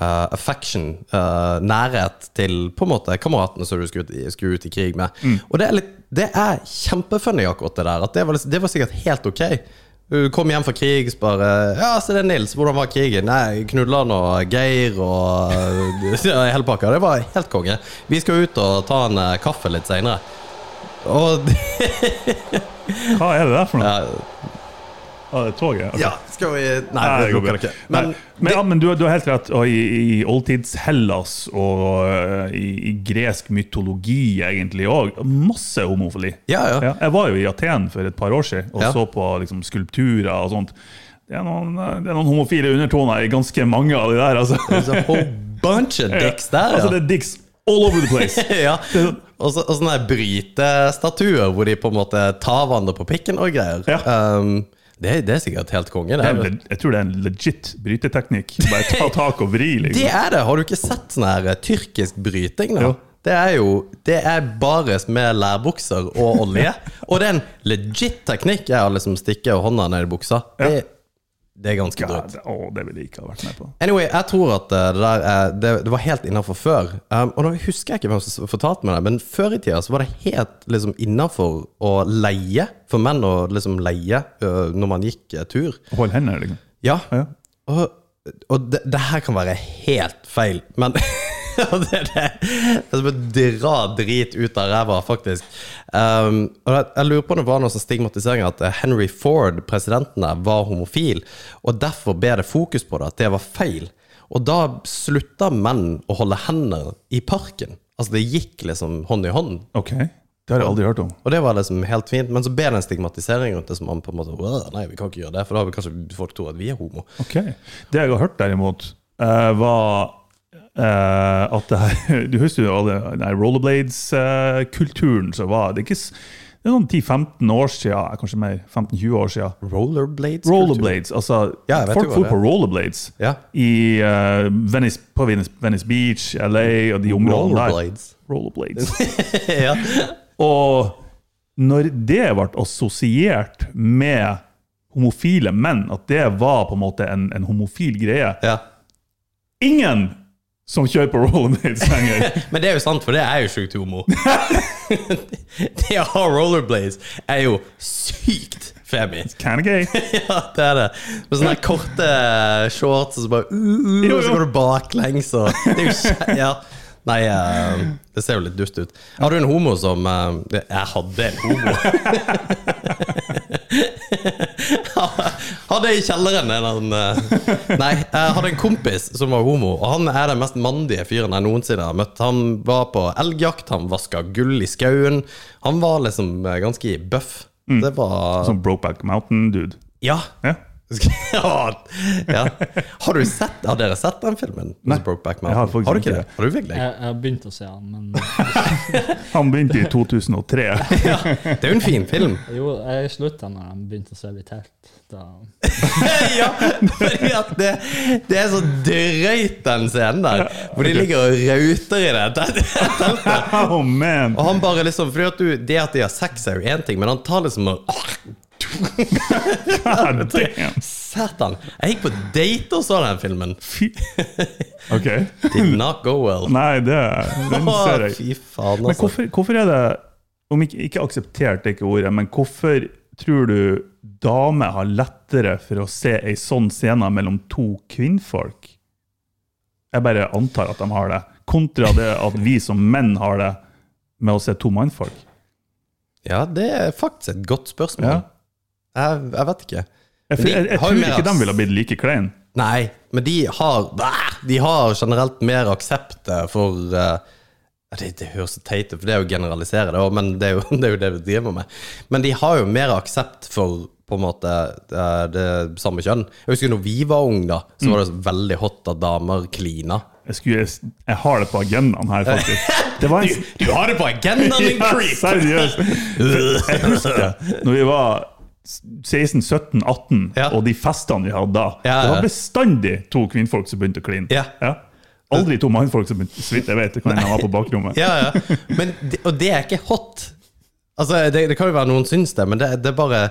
[SPEAKER 3] eh, affection, eh, nærhet til på en måte kameratene som du skulle ut, i- skulle ut i krig med.
[SPEAKER 4] Mm.
[SPEAKER 3] Og det er, litt, det er kjempefunny akkurat det der. At det, var, liksom- det var sikkert helt ok. Du kom hjem fra krig, så bare Ja, se det er Nils, hvordan var krigen? Nei, knulla han og Geir og eh, ja, hele pakka. Det var helt konge. Vi skal ut og ta en eh, kaffe litt seinere. Og
[SPEAKER 4] Hva er det der for noe?
[SPEAKER 3] ja,
[SPEAKER 4] Ah, det er toget? ok.
[SPEAKER 3] ja, skal vi Nei,
[SPEAKER 4] Nei,
[SPEAKER 3] det
[SPEAKER 4] går
[SPEAKER 3] lukker
[SPEAKER 4] bra.
[SPEAKER 3] det ikke. Men
[SPEAKER 4] Nei. men, ja, men du, du har helt rett. Og I, i oldtids-Hellas og eh, i, i gresk mytologi egentlig òg. Masse homofili.
[SPEAKER 3] Ja, ja.
[SPEAKER 4] Jeg var jo i Aten for et par år siden og
[SPEAKER 3] Ja.
[SPEAKER 4] så på liksom, skulpturer og sånt. Det er, noen, eh, det er noen homofile undertoner i ganske mange av de der. altså.
[SPEAKER 3] there's a sånn whole bunch of dicks der,
[SPEAKER 4] Altså,
[SPEAKER 3] ja.
[SPEAKER 4] det er dicks all over the place.
[SPEAKER 3] ja. Og, så, og sånne her brytestatuer hvor de på en måte tar hverandre på pikken og greier.
[SPEAKER 4] Ja.
[SPEAKER 3] Um, det, det er sikkert helt konge. Det er,
[SPEAKER 4] Det er en le- Jeg tror det er en legit bryteteknikk. Bare ta tak og vri.
[SPEAKER 3] det
[SPEAKER 4] Liksom.
[SPEAKER 3] er det! Har du ikke sett sånn her eh, tyrkisk bryting? da?
[SPEAKER 4] Jo.
[SPEAKER 3] Det er jo Det er bares med lærbukser og olje. og det er en legit teknikk. Jeg har liksom stikket hånda ned i buksa. Det, Det er ganske
[SPEAKER 4] Ja,
[SPEAKER 3] drøyt.
[SPEAKER 4] det, å, det ville jeg ikke ha vært med på.
[SPEAKER 3] Anyway, jeg tror at eh, det der eh, det, det var helt innafor før. Um, og nå husker jeg ikke hvem som s- fortalte meg det, men før i tida så var det helt liksom innafor å leie, for menn å liksom leie eh, når man gikk eh, tur.
[SPEAKER 4] Hold hendene, liksom.
[SPEAKER 3] Ja.
[SPEAKER 4] Ja.
[SPEAKER 3] Og, og det, det her kan være helt feil, men og det, det, det er som å dra drit ut av ræva, faktisk. Um, og jeg, jeg lurer på om det var noe sånn stigmatisering at eh, Henry Ford, presidenten der, var homofil, og derfor ble det fokus på det, at det var feil. Og da slutta menn å holde hender i parken. Altså, det gikk liksom hånd i hånd.
[SPEAKER 4] Ok, det har jeg aldri hørt om.
[SPEAKER 3] Og det var liksom helt fint, men så ble det en stigmatisering rundt det, som man på en måte «Åh, Nei, vi kan ikke gjøre det, for da vil kanskje folk tro at vi er homo.
[SPEAKER 4] Ok, Det jeg har hørt derimot, eh, var eh, at det her, Du husker jo alle den her rollerblades-kulturen som var Det er, ikke, s- det er noen 10-15 år siden, kanskje mer, 15-20 år siden.
[SPEAKER 3] Rollerblades?
[SPEAKER 4] Rollerblades, altså
[SPEAKER 3] Ja, jeg vet jo
[SPEAKER 4] Folk
[SPEAKER 3] hva
[SPEAKER 4] for
[SPEAKER 3] det er.
[SPEAKER 4] på rollerblades
[SPEAKER 3] Ja.
[SPEAKER 4] i, eh, Venice, på Venice, Venice Beach, LA og de områdene der.
[SPEAKER 3] Rollerblades.
[SPEAKER 4] Rollerblades.
[SPEAKER 3] ja.
[SPEAKER 4] Og når det ble assosiert med homofile menn, at det var på en måte en, en homofil greie
[SPEAKER 3] ja.
[SPEAKER 4] Ingen som kjører på rollerblades lenger!
[SPEAKER 3] Men det er jo sant, for det er jo sjukt homo. det å ha rollerblades er jo sykt femi.
[SPEAKER 4] Kinda gay.
[SPEAKER 3] ja, det er det. Med sånne her korte eh, shorts og så bare uh, uh,
[SPEAKER 4] Jo,
[SPEAKER 3] Og så
[SPEAKER 4] jo.
[SPEAKER 3] går du baklengs og Det er jo kje- ja. Nei, eh, det ser jo litt dust ut. Har du en homo som eh, Jeg hadde en homo. hadde jeg i kjelleren en annen eh, Nei, jeg hadde en kompis som var homo, og han er den mest mandige fyren jeg noensinne har møtt. Han var på elgjakt, han vaska gull i skauen. Han var liksom eh, ganske buff.
[SPEAKER 4] Mm.
[SPEAKER 3] Det var
[SPEAKER 4] Som Brokeback Mountain, dude.
[SPEAKER 3] Ja.
[SPEAKER 4] Ja.
[SPEAKER 3] ja. ja. Har, du sett, har dere sett den filmen? Nei. Brokeback
[SPEAKER 4] jeg har
[SPEAKER 3] Mountain?
[SPEAKER 4] faktisk
[SPEAKER 3] Har du ikke
[SPEAKER 4] ikke
[SPEAKER 3] det? Har du virkelig?
[SPEAKER 5] Jeg, jeg har begynt å se han, men
[SPEAKER 4] Han begynte i 2003.
[SPEAKER 3] Det er jo en fin film.
[SPEAKER 5] jo, jeg slutta når han begynte å se litt helt. Da,
[SPEAKER 3] ja, fordi at det, det er så drøyt, den scenen der. Hvor de ligger og rauter i det teltet.
[SPEAKER 4] Oh man!
[SPEAKER 3] Og han bare liksom fordi at du, Det at de har sex, er jo én ting, men han tar liksom og
[SPEAKER 4] God damn!
[SPEAKER 3] Satan! Jeg gikk på date og så den filmen.
[SPEAKER 4] Fy. Ok.
[SPEAKER 3] Did not go well.
[SPEAKER 4] Nei, det den ser jeg.
[SPEAKER 3] Fy faen,
[SPEAKER 4] Men
[SPEAKER 3] altså.
[SPEAKER 4] hvorfor, hvorfor er det om ikke, ikke akseptert det er ikke ordet, men hvorfor tror du damer har lettere for å se ei sånn scene mellom to kvinnfolk? Jeg bare antar at de har det, kontra det at vi som menn har det med å se to mannfolk.
[SPEAKER 3] Ja, det er faktisk et godt spørsmål.
[SPEAKER 4] Ja.
[SPEAKER 3] Jeg, jeg vet ikke.
[SPEAKER 4] Jeg, jeg, jeg,
[SPEAKER 3] De har jo
[SPEAKER 4] tror
[SPEAKER 3] mer
[SPEAKER 4] ikke de
[SPEAKER 3] ass-
[SPEAKER 4] ville ha blitt like klein.
[SPEAKER 3] Nei, men de har Bæ! De har generelt mer aksept eh, for eh, det, det høres så teit ut, for det er jo å generalisere det også, men det er jo, det er jo det vi driver med. Men de har jo mer aksept for på en måte eh, det samme kjønn. Jeg husker når vi var unge, da, så var det
[SPEAKER 4] Mm.
[SPEAKER 3] så veldig hot at damer klina.
[SPEAKER 4] Jeg, skulle, jeg, jeg har det på agendaen her, faktisk. Det var en,
[SPEAKER 3] Du har det på agendaen din,
[SPEAKER 4] Ja,
[SPEAKER 3] creep!
[SPEAKER 4] seriøst! Jeg husker det. Når vi var 16, 17, 18,
[SPEAKER 3] Ja.
[SPEAKER 4] og de festene vi hadde da,
[SPEAKER 3] Ja, ja.
[SPEAKER 4] det var bestandig to kvinnfolk som begynte å kline.
[SPEAKER 3] Ja.
[SPEAKER 4] Aldri to mannfolk som begynte så vidt jeg vet. Det kan hende han var på bakrommet.
[SPEAKER 3] Ja, ja. Men, det- og det er ikke hot. Altså, det, det kan jo være noen syns det, men det, det er bare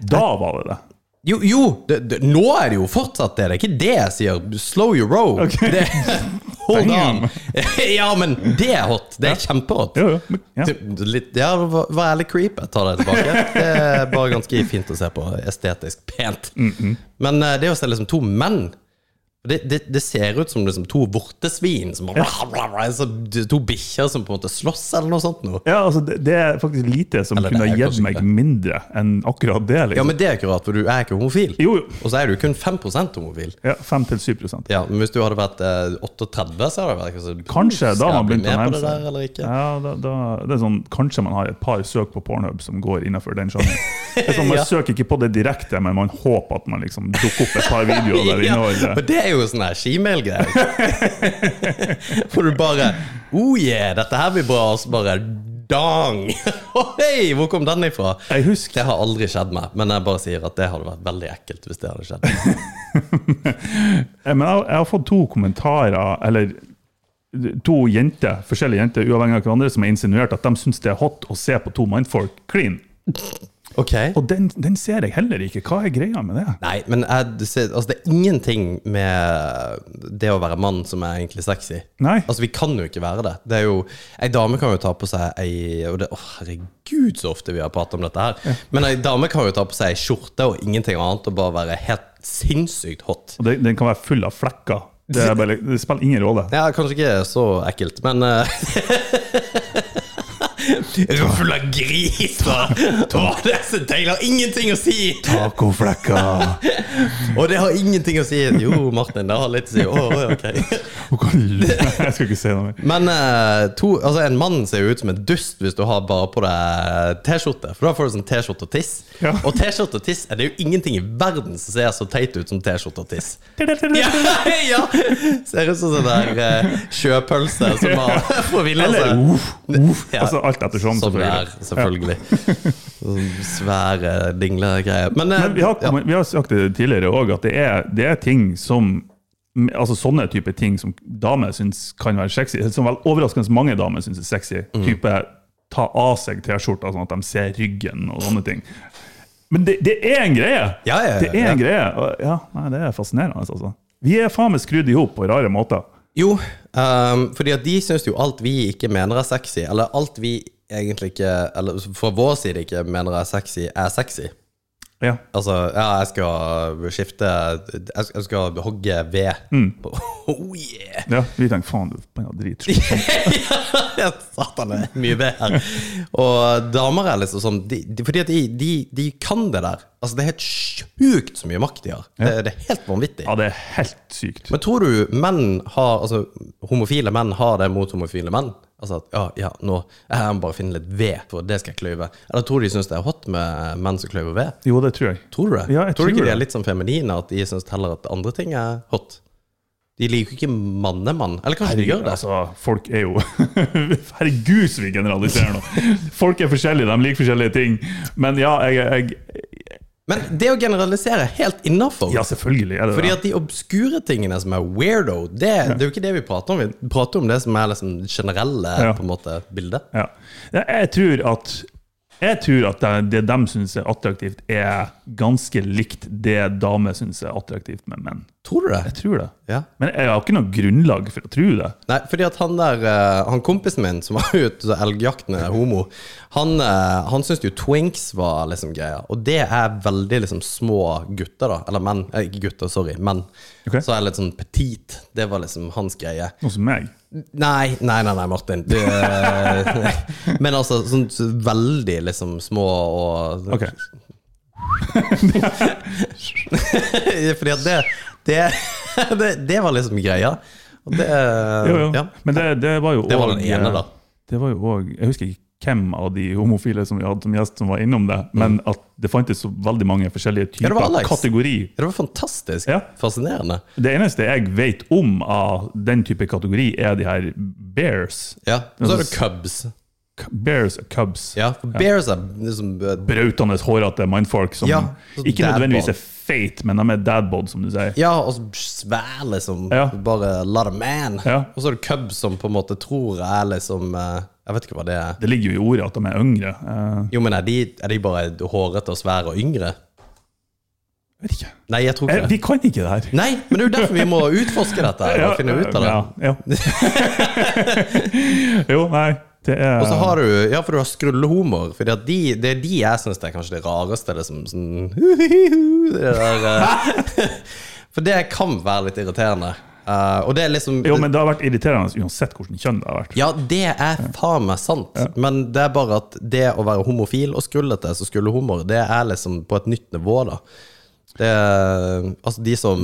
[SPEAKER 4] Da var det det.
[SPEAKER 3] Jo, jo det, det, nå er det jo fortsatt det. Det er ikke det jeg sier. Slow your roll.
[SPEAKER 4] Ok.
[SPEAKER 3] Det, hold
[SPEAKER 4] Damn.
[SPEAKER 3] on. ja, men det er hot. Det er kjempehot.
[SPEAKER 4] Jo, jo. men- Ja.
[SPEAKER 3] Du- Litt, ja, vær vær ærlig creep. Jeg tar det tilbake. Det er bare ganske fint å se på. Estetisk pent. Men eh, det å se liksom to menn det, det, det ser ut som liksom to vortesvin. Som, så to bikkjer som på en måte slåss, eller noe sånt. Noe.
[SPEAKER 4] Ja, altså, det, det er faktisk lite som
[SPEAKER 3] Eller det
[SPEAKER 4] kunne
[SPEAKER 3] er
[SPEAKER 4] ha gitt
[SPEAKER 3] kanskje
[SPEAKER 4] meg
[SPEAKER 3] ikke.
[SPEAKER 4] mindre enn akkurat det.
[SPEAKER 3] Ja,
[SPEAKER 4] Liksom.
[SPEAKER 3] men det er akkurat, for du er ikke homofil.
[SPEAKER 4] Jo, jo.
[SPEAKER 3] Og så er du kun 5 homofil.
[SPEAKER 4] Ja, 5-7
[SPEAKER 3] Ja, men hvis du hadde vært eh, 38, så hadde det vært kanskje
[SPEAKER 4] Kanskje, da
[SPEAKER 3] Skal
[SPEAKER 4] har man
[SPEAKER 3] jeg
[SPEAKER 4] begynt
[SPEAKER 3] bli
[SPEAKER 4] å
[SPEAKER 3] med på
[SPEAKER 4] nærme
[SPEAKER 3] det
[SPEAKER 4] seg.
[SPEAKER 3] der, eller ikke?
[SPEAKER 4] Ja, da, da, det er sånn, kanskje man har et par søk på Pornhub som går innenfor den sjangeren. Det er Sånn, man
[SPEAKER 3] Ja.
[SPEAKER 4] søker ikke på det direkte, men man håper at man liksom dukker opp et par videoer der
[SPEAKER 3] men
[SPEAKER 4] inneholder
[SPEAKER 3] det er jo sånn her shemale-greier. Hvor du bare Oh yeah, dette her blir bra, og så bare dang! Oh, hei, hvor kom den ifra?
[SPEAKER 4] Jeg husker
[SPEAKER 3] Det har aldri skjedd meg, men jeg bare sier at det hadde vært veldig ekkelt hvis det hadde skjedd.
[SPEAKER 4] Eh, Men jeg, jeg har fått to kommentarer, eller to jenter, forskjellige jenter, uavhengig av hverandre, som har insinuert at de syns det er hot å se på to mannfolk clean.
[SPEAKER 3] Ok.
[SPEAKER 4] Og den, den ser jeg heller ikke. Hva er greia med det?
[SPEAKER 3] Nei, men jeg, du ser- altså, det er ingenting med det å være mann som er egentlig sexy.
[SPEAKER 4] Nei.
[SPEAKER 3] Altså, vi kan jo ikke være det. Det er jo, Ei dame kan jo ta på seg ei og det, Å, herregud, så ofte vi har pratet om dette her. Men ei dame kan jo ta på seg ei skjorte og ingenting annet og bare være helt sinnssykt hot.
[SPEAKER 4] Og den, den kan være full av flekker. Det, er bare, det spiller ingen rolle.
[SPEAKER 3] Ja, kanskje ikke så ekkelt, men uh, Ruffel av gris, da! Å, Det er så deilig! Har ingenting å si!
[SPEAKER 4] Tacoflekker.
[SPEAKER 3] Og det har ingenting å si! Jo, Martin, det har litt å si. Å, ok.
[SPEAKER 4] Hun kan l- Jeg skal ikke si noe mer.
[SPEAKER 3] Men eh, to, altså en mann ser jo ut som en dust hvis du har bare på deg T-skjorte. For da får du sånn T-skjorte og tiss.
[SPEAKER 4] Ja.
[SPEAKER 3] Og T-skjorte og tiss er det jo ingenting i verden som ser så teit ut som T-skjorte og tiss. Ja, ja. Ser ut som sånn der eh, sjøpølse som har forvilla
[SPEAKER 4] Eller
[SPEAKER 3] seg.
[SPEAKER 4] uff, uff.
[SPEAKER 3] Ja.
[SPEAKER 4] Altså alt ettersom,
[SPEAKER 3] Som det er,
[SPEAKER 4] selvfølgelig.
[SPEAKER 3] selvfølgelig. Sånn Svære dinglegreier. Men, eh,
[SPEAKER 4] Men vi har, kommet- vi har sagt det tidligere òg, at det er, det er ting som Altså Sånne type ting som damer syns kan være sexy, som vel overraskende mange damer syns er sexy.
[SPEAKER 3] Mm.
[SPEAKER 4] Type ta av seg T-skjorta sånn at de ser ryggen og sånne ting. Men det, det er en greie!
[SPEAKER 3] Ja, ja, ja,
[SPEAKER 4] det er en
[SPEAKER 3] ja.
[SPEAKER 4] greie. Og, ja, nei, det er fascinerende, altså. Vi er faen meg skrudd i hop på rare måter.
[SPEAKER 3] Jo, ehm, fordi at de syns jo alt vi ikke mener er sexy, eller alt vi egentlig ikke, eller fra vår side ikke mener er sexy, er sexy.
[SPEAKER 4] Ja.
[SPEAKER 3] Altså, ja, jeg skal skifte Jeg skal, jeg skal hogge ved. Oh yeah!
[SPEAKER 4] Ja, vi tenker faen, du er drit.
[SPEAKER 3] Ja, Satan, det er mye ved her. Og damer er liksom sånn de, de, Fordi at de, de, de kan det der. Altså, det er helt sjukt så mye makt de har. Det, det er helt vanvittig.
[SPEAKER 4] Ja, det er helt sykt.
[SPEAKER 3] Men tror du menn har, altså homofile menn har det mot homofile menn? Altså at ja, ja, nå jeg må bare finne litt ved, for det skal jeg kløyve. Eller tror du de syns det er hot med menn som kløyver ved?
[SPEAKER 4] Jo, det tror jeg.
[SPEAKER 3] Tror du det?
[SPEAKER 4] Ja, jeg
[SPEAKER 3] tror du
[SPEAKER 4] tror
[SPEAKER 3] ikke de
[SPEAKER 4] det.
[SPEAKER 3] er litt sånn feminine, at de syns heller at andre ting er hot? De liker jo ikke mannemann. Eller kanskje de gjør det?
[SPEAKER 4] Altså, folk er jo Herregud, så vi generaliserer nå! Folk er forskjellige, de liker forskjellige ting. Men ja, jeg, jeg
[SPEAKER 3] Men det å generalisere er helt innafor.
[SPEAKER 4] Ja, selvfølgelig er det
[SPEAKER 3] Fordi
[SPEAKER 4] det.
[SPEAKER 3] at de obskure tingene som er weirdo, det, det er jo ikke det vi prater om. Vi prater om det som er liksom det generelle
[SPEAKER 4] Ja.
[SPEAKER 3] på en måte, bildet.
[SPEAKER 4] Ja. Ja, Jeg tror at jeg tror at det, det de syns er attraktivt, er ganske likt det damer syns er attraktivt med menn.
[SPEAKER 3] Tror du det?
[SPEAKER 4] Jeg tror det.
[SPEAKER 3] Ja.
[SPEAKER 4] Men jeg har ikke noe grunnlag for å tro det.
[SPEAKER 3] Nei, fordi at han der eh, Han kompisen min som var ute og elgjaktende homo, han, uh, han syntes jo twinks var liksom greia. Og det er veldig liksom små gutter, da. Eller menn. Eh, ikke gutter, sorry. Menn.
[SPEAKER 4] Ok.
[SPEAKER 3] Så er jeg litt sånn petit. Det var liksom hans greie.
[SPEAKER 4] Noe som meg.
[SPEAKER 3] Nei, nei, nei, nei Martin. Du, eh, men altså sånn så veldig liksom små og
[SPEAKER 4] Ok.
[SPEAKER 3] Fordi at det det, det det var liksom greia. Og det
[SPEAKER 4] Jo, jo.
[SPEAKER 3] Ja.
[SPEAKER 4] Men det, det var jo
[SPEAKER 3] Det var
[SPEAKER 4] også- eh,
[SPEAKER 3] den ene, da.
[SPEAKER 4] Det var jo også, Jeg husker ikke hvem av de homofile som vi hadde som gjest som var innom det, men at det fantes så veldig mange forskjellige
[SPEAKER 3] Mm. Ja, det
[SPEAKER 4] typer
[SPEAKER 3] var Alex.
[SPEAKER 4] kategori.
[SPEAKER 3] Det var fantastisk.
[SPEAKER 4] Ja.
[SPEAKER 3] Fascinerende.
[SPEAKER 4] Det eneste jeg vet om av den type kategori, er de her bears.
[SPEAKER 3] Ja. Og så er det Cubs.
[SPEAKER 4] K- Bears og cubs.
[SPEAKER 3] Ja, for Bears er liksom eh,
[SPEAKER 4] Brautende, hårete mannfolk som
[SPEAKER 3] Ja, sånn
[SPEAKER 4] ikke
[SPEAKER 3] dadbod.
[SPEAKER 4] nødvendigvis er feite, men de er dadbod, som du sier.
[SPEAKER 3] Ja, og så svær, liksom.
[SPEAKER 4] Ja.
[SPEAKER 3] Bare lot a man.
[SPEAKER 4] Ja.
[SPEAKER 3] Og så er det Cubs som på en måte tror jeg er liksom eh, Jeg vet ikke hva det er.
[SPEAKER 4] Det ligger jo i ordet at de er yngre. Eh,
[SPEAKER 3] Jo, men er de, er de bare hårete og svære og yngre?
[SPEAKER 4] Jeg vet ikke.
[SPEAKER 3] Nei, jeg tror
[SPEAKER 4] Eh,
[SPEAKER 3] ikke det.
[SPEAKER 4] Vi kan ikke det her.
[SPEAKER 3] Nei, men det er jo derfor vi må utforske dette her, og finne ut av det.
[SPEAKER 4] Ja, ja. jo, nei, det er
[SPEAKER 3] Og så har du Ja, for du har skrullehomoer. For det er de, det er de jeg syns er kanskje det rareste. Liksom, sånn, det der, eh, For det kan være litt irriterende. Eh, og det er liksom
[SPEAKER 4] Jo, men det har vært irriterende uansett hvordan kjønn det har vært.
[SPEAKER 3] Ja, det er faen meg sant, men det er bare at det å være homofil og skrullete som skrullehomoer, det er liksom på et nytt nivå, da. Det er, altså, de som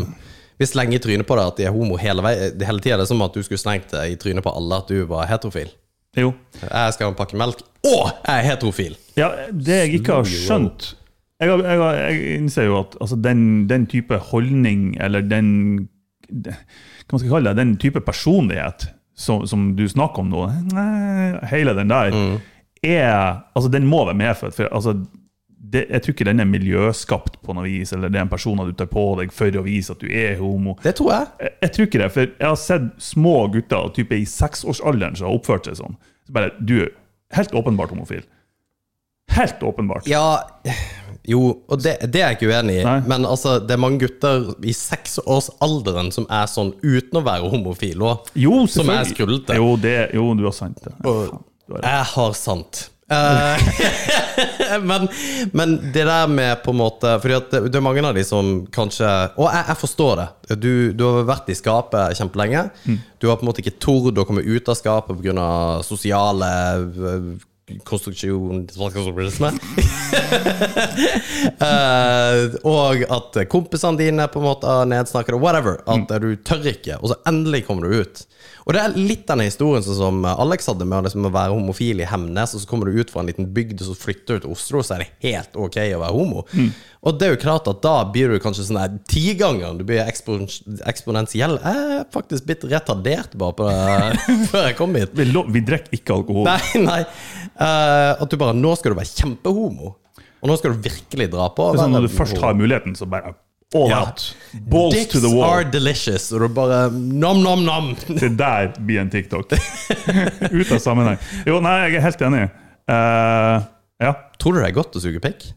[SPEAKER 3] Vi slenger i trynet på deg at de er homo hele, vei, hele tida. Det er som at du skulle slengt deg i trynet på alle at du var heterofil.
[SPEAKER 4] Jo.
[SPEAKER 3] Jeg skal ha en pakke melk, og jeg er heterofil!
[SPEAKER 4] Ja, det jeg ikke har skjønt Jeg, har- jeg, har- jeg innser jo at altså, den, den type holdning, eller den Hva man skal kalle det? Den type personlighet som, som du snakker om nå, nei, hele den der, er Altså, den må være medfødt. for altså det, jeg tror ikke den er miljøskapt på noe vis, eller det er en person du tar på deg for å vise at du er homo.
[SPEAKER 3] Det tror jeg.
[SPEAKER 4] Jeg, jeg tror ikke det, for jeg har sett små gutter type i seksårsalderen som har oppført seg sånn. Så bare, Du er helt åpenbart homofil. Helt åpenbart.
[SPEAKER 3] Ja Jo, og det, det er jeg ikke uenig i.
[SPEAKER 4] Nei.
[SPEAKER 3] Men altså, det er mange gutter i seksårsalderen som er sånn uten å være homofil òg.
[SPEAKER 4] Jo,
[SPEAKER 3] Som er
[SPEAKER 4] selvfølgelig.
[SPEAKER 3] skrullete.
[SPEAKER 4] Jo, det, jo, du har sant det.
[SPEAKER 3] Og-
[SPEAKER 4] Du har rett.
[SPEAKER 3] Jeg har sant. Eh, men, men det der med på en måte Fordi at det, det er mange av de som kanskje Og jeg, jeg forstår det. Du, du har vært i skapet kjempelenge. Du har på en måte ikke tord å komme ut av skapet pga. sosiale eh, konstruksjon Eh, Og at kompisene dine på en måte har nedsnakket det, whatever. At
[SPEAKER 4] Mm.
[SPEAKER 3] eh, du tør ikke, og så endelig kommer du ut. Og det er litt denne historien sånn som eh, Alex hadde med å liksom, å være homofil i Hemnes, og så kommer du ut fra en liten bygd, og så flytter du til Oslo, så er det helt ok å være homo.
[SPEAKER 4] Mm.
[SPEAKER 3] Og det er jo klart at da blir du kanskje sånn der tigangeren. Du blir ekspon eksponentiell. Jeg er faktisk blitt retardert bare på det, før jeg kom hit.
[SPEAKER 4] Vi, lo- vi drikker ikke alkohol.
[SPEAKER 3] Nei, nei. Eh, at du bare Nå skal du være kjempehomo. Og nå skal du virkelig dra på.
[SPEAKER 4] Det er sånn
[SPEAKER 3] Være
[SPEAKER 4] Når du først
[SPEAKER 3] homo.
[SPEAKER 4] har muligheten, så bare all
[SPEAKER 3] Ja.
[SPEAKER 4] out. Balls
[SPEAKER 3] Dicks
[SPEAKER 4] to the
[SPEAKER 3] are
[SPEAKER 4] wall.
[SPEAKER 3] delicious. Og du bare nam, nam, nam.
[SPEAKER 4] Det der blir en TikTok. Ut av sammenheng. Jo, nei, jeg er helt enig. Eh, ja.
[SPEAKER 3] Tror du det er godt å suge pikk?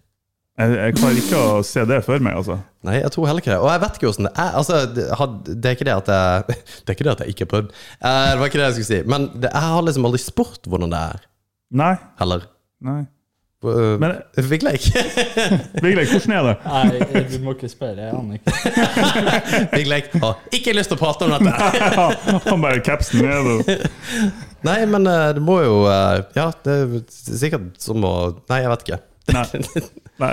[SPEAKER 4] Jeg, jeg klarer ikke å se det for meg, altså.
[SPEAKER 3] Nei, jeg tror heller ikke det. Og jeg vet ikke hvordan det er. Altså, det, had- det er ikke det at jeg Det er ikke det at jeg ikke har prøvd. Eh, det var ikke det jeg skulle si. Men det, jeg har liksom aldri spurt hvordan det er.
[SPEAKER 4] Nei.
[SPEAKER 3] Heller.
[SPEAKER 4] nei.
[SPEAKER 3] Uh,
[SPEAKER 4] Men
[SPEAKER 3] Fikk jeg ikke?
[SPEAKER 4] Vigleik, hvordan er det?
[SPEAKER 5] Nei, du må ikke spørre. Jeg aner ikke.
[SPEAKER 3] Fikk jeg ikke. Har ikke lyst til å prate om dette.
[SPEAKER 4] Han bare capsen ned og
[SPEAKER 3] Nei, men eh, det må jo eh, Ja, det er sikkert som å Nei, jeg vet ikke.
[SPEAKER 4] Nei. Nei.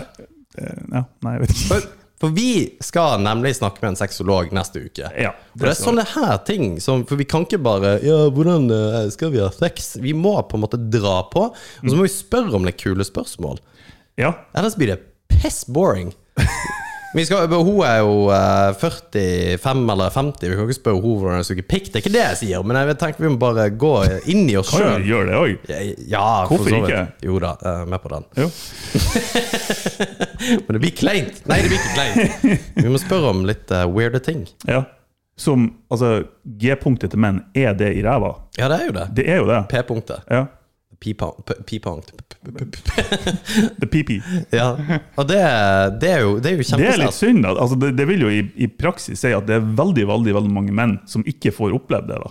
[SPEAKER 4] Eh, Ja, nei, jeg vet ikke.
[SPEAKER 3] For, for vi skal nemlig snakke med en sexolog neste uke.
[SPEAKER 4] Ja,
[SPEAKER 3] Og det er sånne her ting som For vi kan ikke bare Ja, hvordan eh, skal vi ha sex? Vi må på en måte dra på, og så må vi spørre om litt kule spørsmål.
[SPEAKER 4] Ja.
[SPEAKER 3] Ellers blir det piss boring. Vi skal, hun er jo eh, 45 eller 50, vi kan ikke spørre hun hvordan hun suger pikk. Det er ikke det jeg sier, men jeg tenker vi må bare gå inn i oss
[SPEAKER 4] Kan jo
[SPEAKER 3] sjøl.
[SPEAKER 4] gjøre det òg.
[SPEAKER 3] Ja, for
[SPEAKER 4] Hvorfor
[SPEAKER 3] så vidt.
[SPEAKER 4] ikke?
[SPEAKER 3] Jo da, jeg er med på den.
[SPEAKER 4] Jo.
[SPEAKER 3] Men det blir kleint! Nei, det blir ikke kleint. Vi må spørre om litt eh, weirde ting.
[SPEAKER 4] Ja. Som Altså, G-punktet til menn, er det i ræva?
[SPEAKER 3] Ja, det er jo det.
[SPEAKER 4] Det er jo det.
[SPEAKER 3] P-punktet.
[SPEAKER 4] Ja.
[SPEAKER 3] P-punkt.
[SPEAKER 4] The PP.
[SPEAKER 3] Ja. Og det, det, er jo, det er jo
[SPEAKER 4] Det er litt
[SPEAKER 3] kjempesnert.
[SPEAKER 4] synd. da. Altså, det, det vil jo i, i praksis si at det er veldig veldig, veldig mange menn som ikke får opplevd det. da.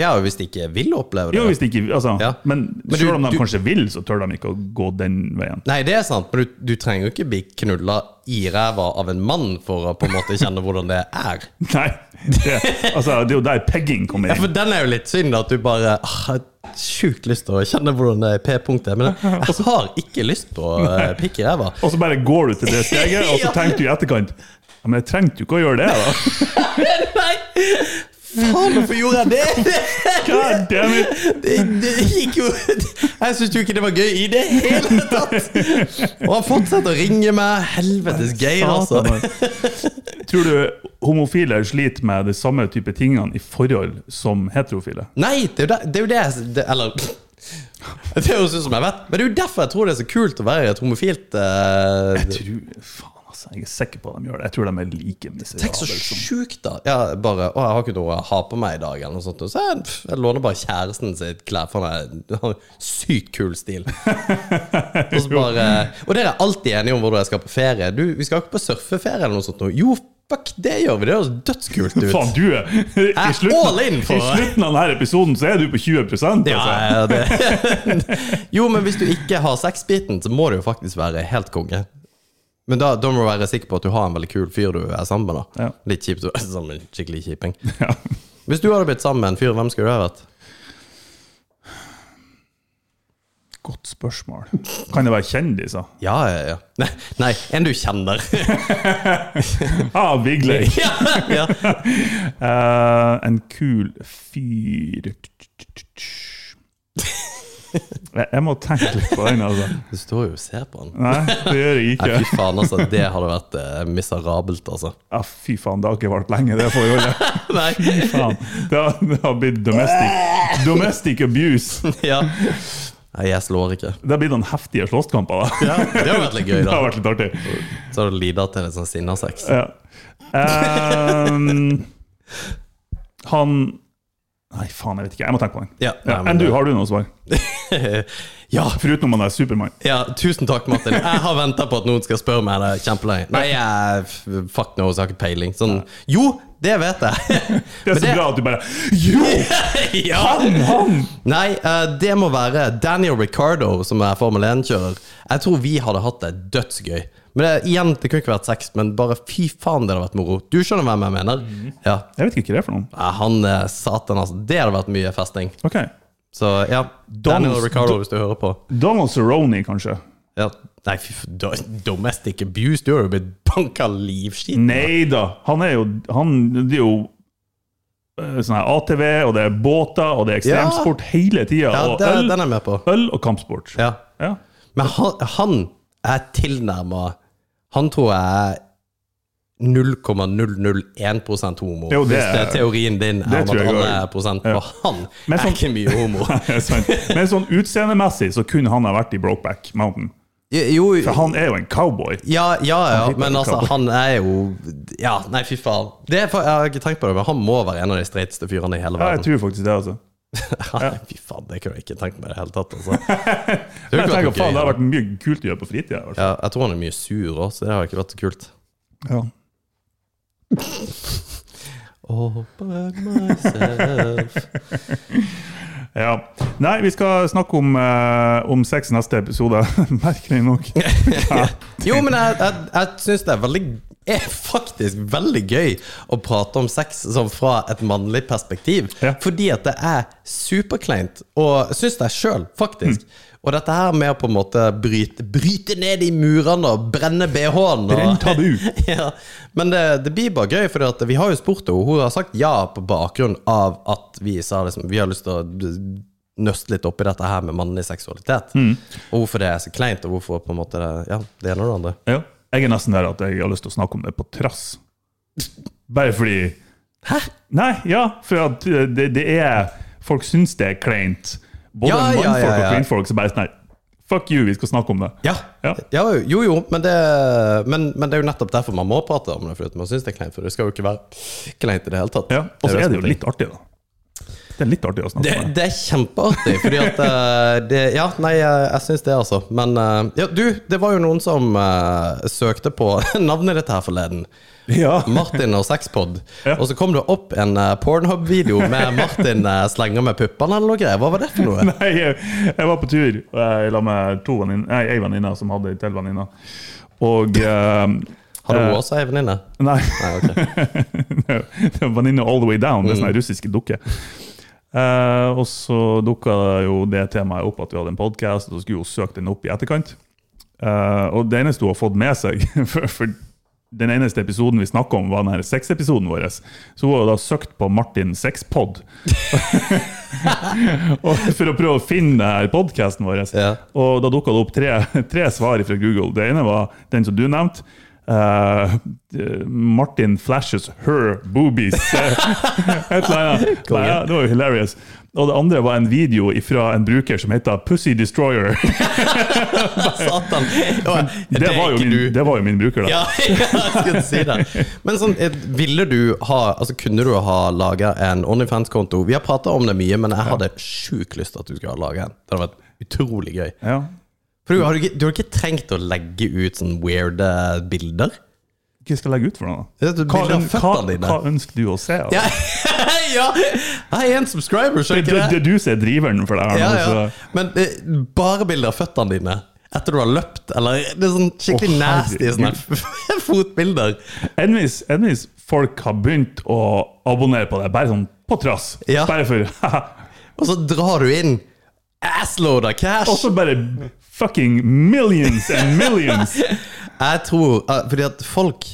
[SPEAKER 3] Ja, og hvis de ikke vil oppleve det.
[SPEAKER 4] Jo, hvis de ikke, altså,
[SPEAKER 3] Ja.
[SPEAKER 4] Men,
[SPEAKER 3] Men du-
[SPEAKER 4] selv om de
[SPEAKER 3] du-
[SPEAKER 4] kanskje vil, så tør de ikke å gå den veien.
[SPEAKER 3] Nei, det er sant, men du, du trenger jo ikke bli knulla i ræva av en mann for å på en måte kjenne hvordan det er.
[SPEAKER 4] Nei, det, altså, det er jo der pegging kommer
[SPEAKER 3] Ja,
[SPEAKER 4] inn.
[SPEAKER 3] For den er jo litt synd, at du bare ah, jeg har sjukt lyst til å kjenne hvordan det er P-punktet. Men jeg har ikke lyst på eh, pikk i ræva.
[SPEAKER 4] Og så bare går du til det steget, og så
[SPEAKER 3] Ja.
[SPEAKER 4] tenker du i etterkant ja, men jeg trengte jo ikke å gjøre det, da.
[SPEAKER 3] Nei! Faen, hvorfor gjorde jeg det?
[SPEAKER 4] God damn it!
[SPEAKER 3] Det, det gikk jo Jeg syns jo ikke det var gøy i det hele tatt! Og han fortsetter å ringe meg. Helvetes Geir, altså.
[SPEAKER 4] Satan. Tror du homofile sliter med de samme type tingene i forhold som heterofile?
[SPEAKER 3] Nei, det er jo det, det, er jo det jeg- det Eller Det høres ut som jeg vet, men det er jo derfor jeg tror det er så kult å være i et homofilt eh,
[SPEAKER 4] Jeg tror, faen altså, jeg er sikker på at de gjør det. Jeg tror de er like
[SPEAKER 3] Tenk så
[SPEAKER 4] miserable. som-
[SPEAKER 3] sjukt, da. Ja, bare, å, jeg har ikke noe å ha på meg i dag, eller noe sånt. Og Så jeg, pff, jeg låner bare kjæresten sitt klær, for han er- har sykt kul stil. og, så bare, og dere er alltid enige om hvor dere skal på ferie. Du, vi skal ikke på surfeferie eller noe sånt. nå. Jo, fuck, det gjør vi. Det høres dødskult ut.
[SPEAKER 4] Faen, du er I
[SPEAKER 3] all in
[SPEAKER 4] slutten,
[SPEAKER 3] for
[SPEAKER 4] I
[SPEAKER 3] det.
[SPEAKER 4] slutten av denne episoden så er du på 20 altså.
[SPEAKER 3] Ja, ja, det. Jo, men hvis du ikke har sexbiten, så må du jo faktisk være helt konge. Men da, da må du være sikker på at du har en veldig kul fyr du er sammen med. da
[SPEAKER 4] Ja.
[SPEAKER 3] Litt kjipt, du er sammen med en skikkelig kjiping.
[SPEAKER 4] Ja.
[SPEAKER 3] Hvis du hadde blitt sammen med en fyr, hvem skulle du ha vært?
[SPEAKER 4] Godt spørsmål. Kan det være kjendiser?
[SPEAKER 3] Ja, ja, ja. Nei, nei en du kjenner.
[SPEAKER 4] Ah, Vigleik.
[SPEAKER 3] ja, ja.
[SPEAKER 4] Eh, en kul fyr Jeg jeg må tenke litt på den, altså.
[SPEAKER 3] Du står jo og ser på han.
[SPEAKER 4] Nei, det gjør jeg
[SPEAKER 3] Nei,
[SPEAKER 4] ikke.
[SPEAKER 3] fy faen, altså. Det hadde vært eh, miserabelt, altså.
[SPEAKER 4] Ja, fy faen, det har ikke vart lenge, det forholdet.
[SPEAKER 3] Nei,
[SPEAKER 4] Faen. Det har, det har blitt domestic, domestic abuse.
[SPEAKER 3] ja. Nei, jeg slår ikke.
[SPEAKER 4] Det har blitt noen heftige slåsskamper, da.
[SPEAKER 3] Ja, det hadde vært litt gøy,
[SPEAKER 4] Det
[SPEAKER 3] da.
[SPEAKER 4] har vært litt artig.
[SPEAKER 3] Så hadde du lida til litt sånn sinnasex.
[SPEAKER 4] Ja. Ehm, Eh, han Nei, faen, jeg vet ikke. Jeg må tenke på den.
[SPEAKER 3] Ja, nei, men
[SPEAKER 4] Enn du,
[SPEAKER 3] det-
[SPEAKER 4] har du noe svar?
[SPEAKER 3] Ja,
[SPEAKER 4] Foruten om han er Supermann.
[SPEAKER 3] ja, tusen takk, Martin. Jeg har venta på at noen skal spørre meg det kjempelenge. Nei, jeg, f- fuck no, så jeg har ikke peiling. Sånn, jo, det vet jeg.
[SPEAKER 4] Det er
[SPEAKER 3] Men
[SPEAKER 4] så bra at du bare Jo!
[SPEAKER 3] ja.
[SPEAKER 4] Han! Han!
[SPEAKER 3] Nei, eh, det må være Daniel Ricardo, som er Formel 1-kjører. Jeg tror vi hadde hatt det dødsgøy. Men det, igjen, det kunne ikke vært sex, men bare fy faen, det hadde vært moro. Du skjønner hvem jeg mener?
[SPEAKER 4] Mhm.
[SPEAKER 3] Ja.
[SPEAKER 4] Jeg vet ikke hva det er for noen.
[SPEAKER 3] Eh, Han eh, satan, altså. Det hadde vært mye festing.
[SPEAKER 4] Ok.
[SPEAKER 3] Så ja, Daniel Ricardo, hvis du hører på.
[SPEAKER 4] Donald Cerrone, kanskje?
[SPEAKER 3] Ja. Nei, fy f- do- domestic abuse, du har jo blitt banka livskiten.
[SPEAKER 4] Nei da. Han er jo han, Det er jo eh, sånn her ATV, og det er båter, og det er ekstremsport hele tida.
[SPEAKER 3] Ja,
[SPEAKER 4] og
[SPEAKER 3] det,
[SPEAKER 4] øl,
[SPEAKER 3] den er jeg med på.
[SPEAKER 4] øl og kampsport.
[SPEAKER 3] Ja.
[SPEAKER 4] Ja.
[SPEAKER 3] Men han, han er tilnærma Han tror jeg er 0,001 homo.
[SPEAKER 4] Jo, det
[SPEAKER 3] hvis det
[SPEAKER 4] er-
[SPEAKER 3] er teorien din er
[SPEAKER 4] det
[SPEAKER 3] om
[SPEAKER 4] tror
[SPEAKER 3] at
[SPEAKER 4] jeg
[SPEAKER 3] han
[SPEAKER 4] også.
[SPEAKER 3] er prosent
[SPEAKER 4] Ja.
[SPEAKER 3] på han.
[SPEAKER 4] Men
[SPEAKER 3] er
[SPEAKER 4] sånn-
[SPEAKER 3] ikke mye homo.
[SPEAKER 4] Sant. Men sånn utseendemessig så kunne han ha vært i Brokeback Mountain.
[SPEAKER 3] Jo,
[SPEAKER 4] For han er jo en cowboy.
[SPEAKER 3] ja, ja, ja,
[SPEAKER 4] Han fikk
[SPEAKER 3] men
[SPEAKER 4] ikke
[SPEAKER 3] altså,
[SPEAKER 4] kabel.
[SPEAKER 3] han er jo Ja, nei, fy faen. Det er, fa- jeg har ikke tenkt på det, men han må være en av de streiteste fyrene i hele
[SPEAKER 4] Ja, jeg
[SPEAKER 3] verden.
[SPEAKER 4] tror faktisk det, altså.
[SPEAKER 3] Nei, fy faen, det kunne jeg ikke tenkt meg i det hele tatt, altså. Det har jo ikke
[SPEAKER 4] Jeg
[SPEAKER 3] vært
[SPEAKER 4] tenker,
[SPEAKER 3] noe
[SPEAKER 4] faen, Det
[SPEAKER 3] gøy,
[SPEAKER 4] har
[SPEAKER 3] da.
[SPEAKER 4] vært mye kult å gjøre på fritida. i hvert fall.
[SPEAKER 3] ja, jeg tror han er mye sur òg, så det har ikke vært så kult.
[SPEAKER 4] Ja.
[SPEAKER 3] Open myself
[SPEAKER 4] Ja. Nei, vi skal snakke om, eh, om sex neste episode, merkelig nok.
[SPEAKER 3] Jo, men jeg, jeg, jeg syns det er veldig er faktisk veldig gøy å prate om sex sånn fra et mannlig perspektiv.
[SPEAKER 4] Ja.
[SPEAKER 3] Fordi at det er superkleint, og syns det sjøl, faktisk.
[SPEAKER 4] Mm.
[SPEAKER 3] Og dette her med å på en måte bryte, bryte ned de murene og brenne BH-en. og-
[SPEAKER 4] Brenn tabu.
[SPEAKER 3] ja. Men det, det blir bare gøy, for vi har jo spurt henne. Hun har sagt ja på bakgrunn av at vi sa liksom, vi har lyst til å d- nøste litt oppi dette her med mannlig seksualitet. Og hvorfor det er så kleint, og hvorfor på en måte det, ja, det ene og det andre.
[SPEAKER 4] Ja. Jeg er nesten der at jeg har lyst til å snakke om det på trass. Bare fordi
[SPEAKER 3] Hæ?
[SPEAKER 4] Nei, ja, for at eh, det, det er Folk syns det er kleint. Både
[SPEAKER 3] Ja, ja,
[SPEAKER 4] mannfolk
[SPEAKER 3] ja, ja.
[SPEAKER 4] og kvinnfolk som bare sånn her Fuck you, vi skal snakke om det.
[SPEAKER 3] Ja.
[SPEAKER 4] Ja.
[SPEAKER 3] ja jo, jo, men det, men, men det er jo nettopp derfor man må prate om det. For at man syns det er kleint, for det skal jo ikke være kleint i det hele tatt.
[SPEAKER 4] Ja. Og
[SPEAKER 3] Det
[SPEAKER 4] så
[SPEAKER 3] er jo
[SPEAKER 4] er
[SPEAKER 3] som
[SPEAKER 4] det jo litt artig, da. Det er litt artig å snakke
[SPEAKER 3] Det,
[SPEAKER 4] om det.
[SPEAKER 3] det er kjempeartig, fordi at eh, det, Ja, nei, jeg, jeg syns det, altså. Men eh, ja, du, det var jo noen som eh, søkte på navnet ditt her forleden.
[SPEAKER 4] Ja.
[SPEAKER 3] Martin og sexpod.
[SPEAKER 4] Ja.
[SPEAKER 3] Og så kom det opp en eh, Pornhub-video med Martin eh, slenger med puppene eller noe greier. Hva var det for noe?
[SPEAKER 4] Nei, jeg, jeg var på tur og jeg la med to venninner, nei, ei venninne som hadde en til venninne. Og eh,
[SPEAKER 3] Hadde
[SPEAKER 4] eh,
[SPEAKER 3] hun også ei venninne?
[SPEAKER 4] Nei.
[SPEAKER 3] Nei, ok.
[SPEAKER 4] det var Venninne all the way down, det er sånne russiske dukker. Eh, og så dukka jo det temaet opp at vi hadde en podkast, og så skulle hun søke den opp i etterkant. Eh, og det eneste hun har fått med seg for, for den eneste episoden vi snakka om, var den her sexepisoden vår. Så hun har da søkt på Martin Sexpod Og for å prøve å finne podkasten vår.
[SPEAKER 3] Ja.
[SPEAKER 4] Og da dukka det opp tre, tre svar fra Google. Det ene var den som du nevnte. eh, Martin flashes her boobies. Et eller annet. Nei, ja, det var jo hilarious. Og det andre var en video fra en bruker som heter Pussy Destroyer.
[SPEAKER 3] Satan! Og,
[SPEAKER 4] Det, var, jo
[SPEAKER 3] ikke
[SPEAKER 4] min, det var jo min bruker, da.
[SPEAKER 3] Ja, ja, jeg skulle si det. Men sånn, eh, ville du ha Altså, kunne du ha laga en OnlyFans-konto? Vi har prata om det mye, men jeg hadde sjukt lyst til at du skulle ha laga en. Det hadde vært utrolig gøy.
[SPEAKER 4] Ja.
[SPEAKER 3] For du har, jo ikke, du har ikke trengt å legge ut sånne weirde bilder?
[SPEAKER 4] Hva skal jeg legge ut for noe?
[SPEAKER 3] Det er et bilde av
[SPEAKER 4] øn-
[SPEAKER 3] føttene dine.
[SPEAKER 4] hva ønsker du å se? altså?
[SPEAKER 3] Ja! ja. Jeg er en subscriber,
[SPEAKER 4] Det,
[SPEAKER 3] skjønner
[SPEAKER 4] det,
[SPEAKER 3] ikke det?
[SPEAKER 4] det er du som er driveren for det altså. her.
[SPEAKER 3] Ja,
[SPEAKER 4] nå,
[SPEAKER 3] ja.
[SPEAKER 4] så-
[SPEAKER 3] Men eh, bare bilder av føttene dine. Etter du har løpt, eller Det er sånn skikkelig
[SPEAKER 4] Å,
[SPEAKER 3] nasty sånne fotbilder.
[SPEAKER 4] Enn hvis, enn hvis folk har begynt å abonnere på det, bare sånn på trass.
[SPEAKER 3] Ja.
[SPEAKER 4] Bare for
[SPEAKER 3] Og så drar du inn assload av cash.
[SPEAKER 4] Og så bare fucking millions and millions!
[SPEAKER 3] Jeg tror eh, Fordi at folk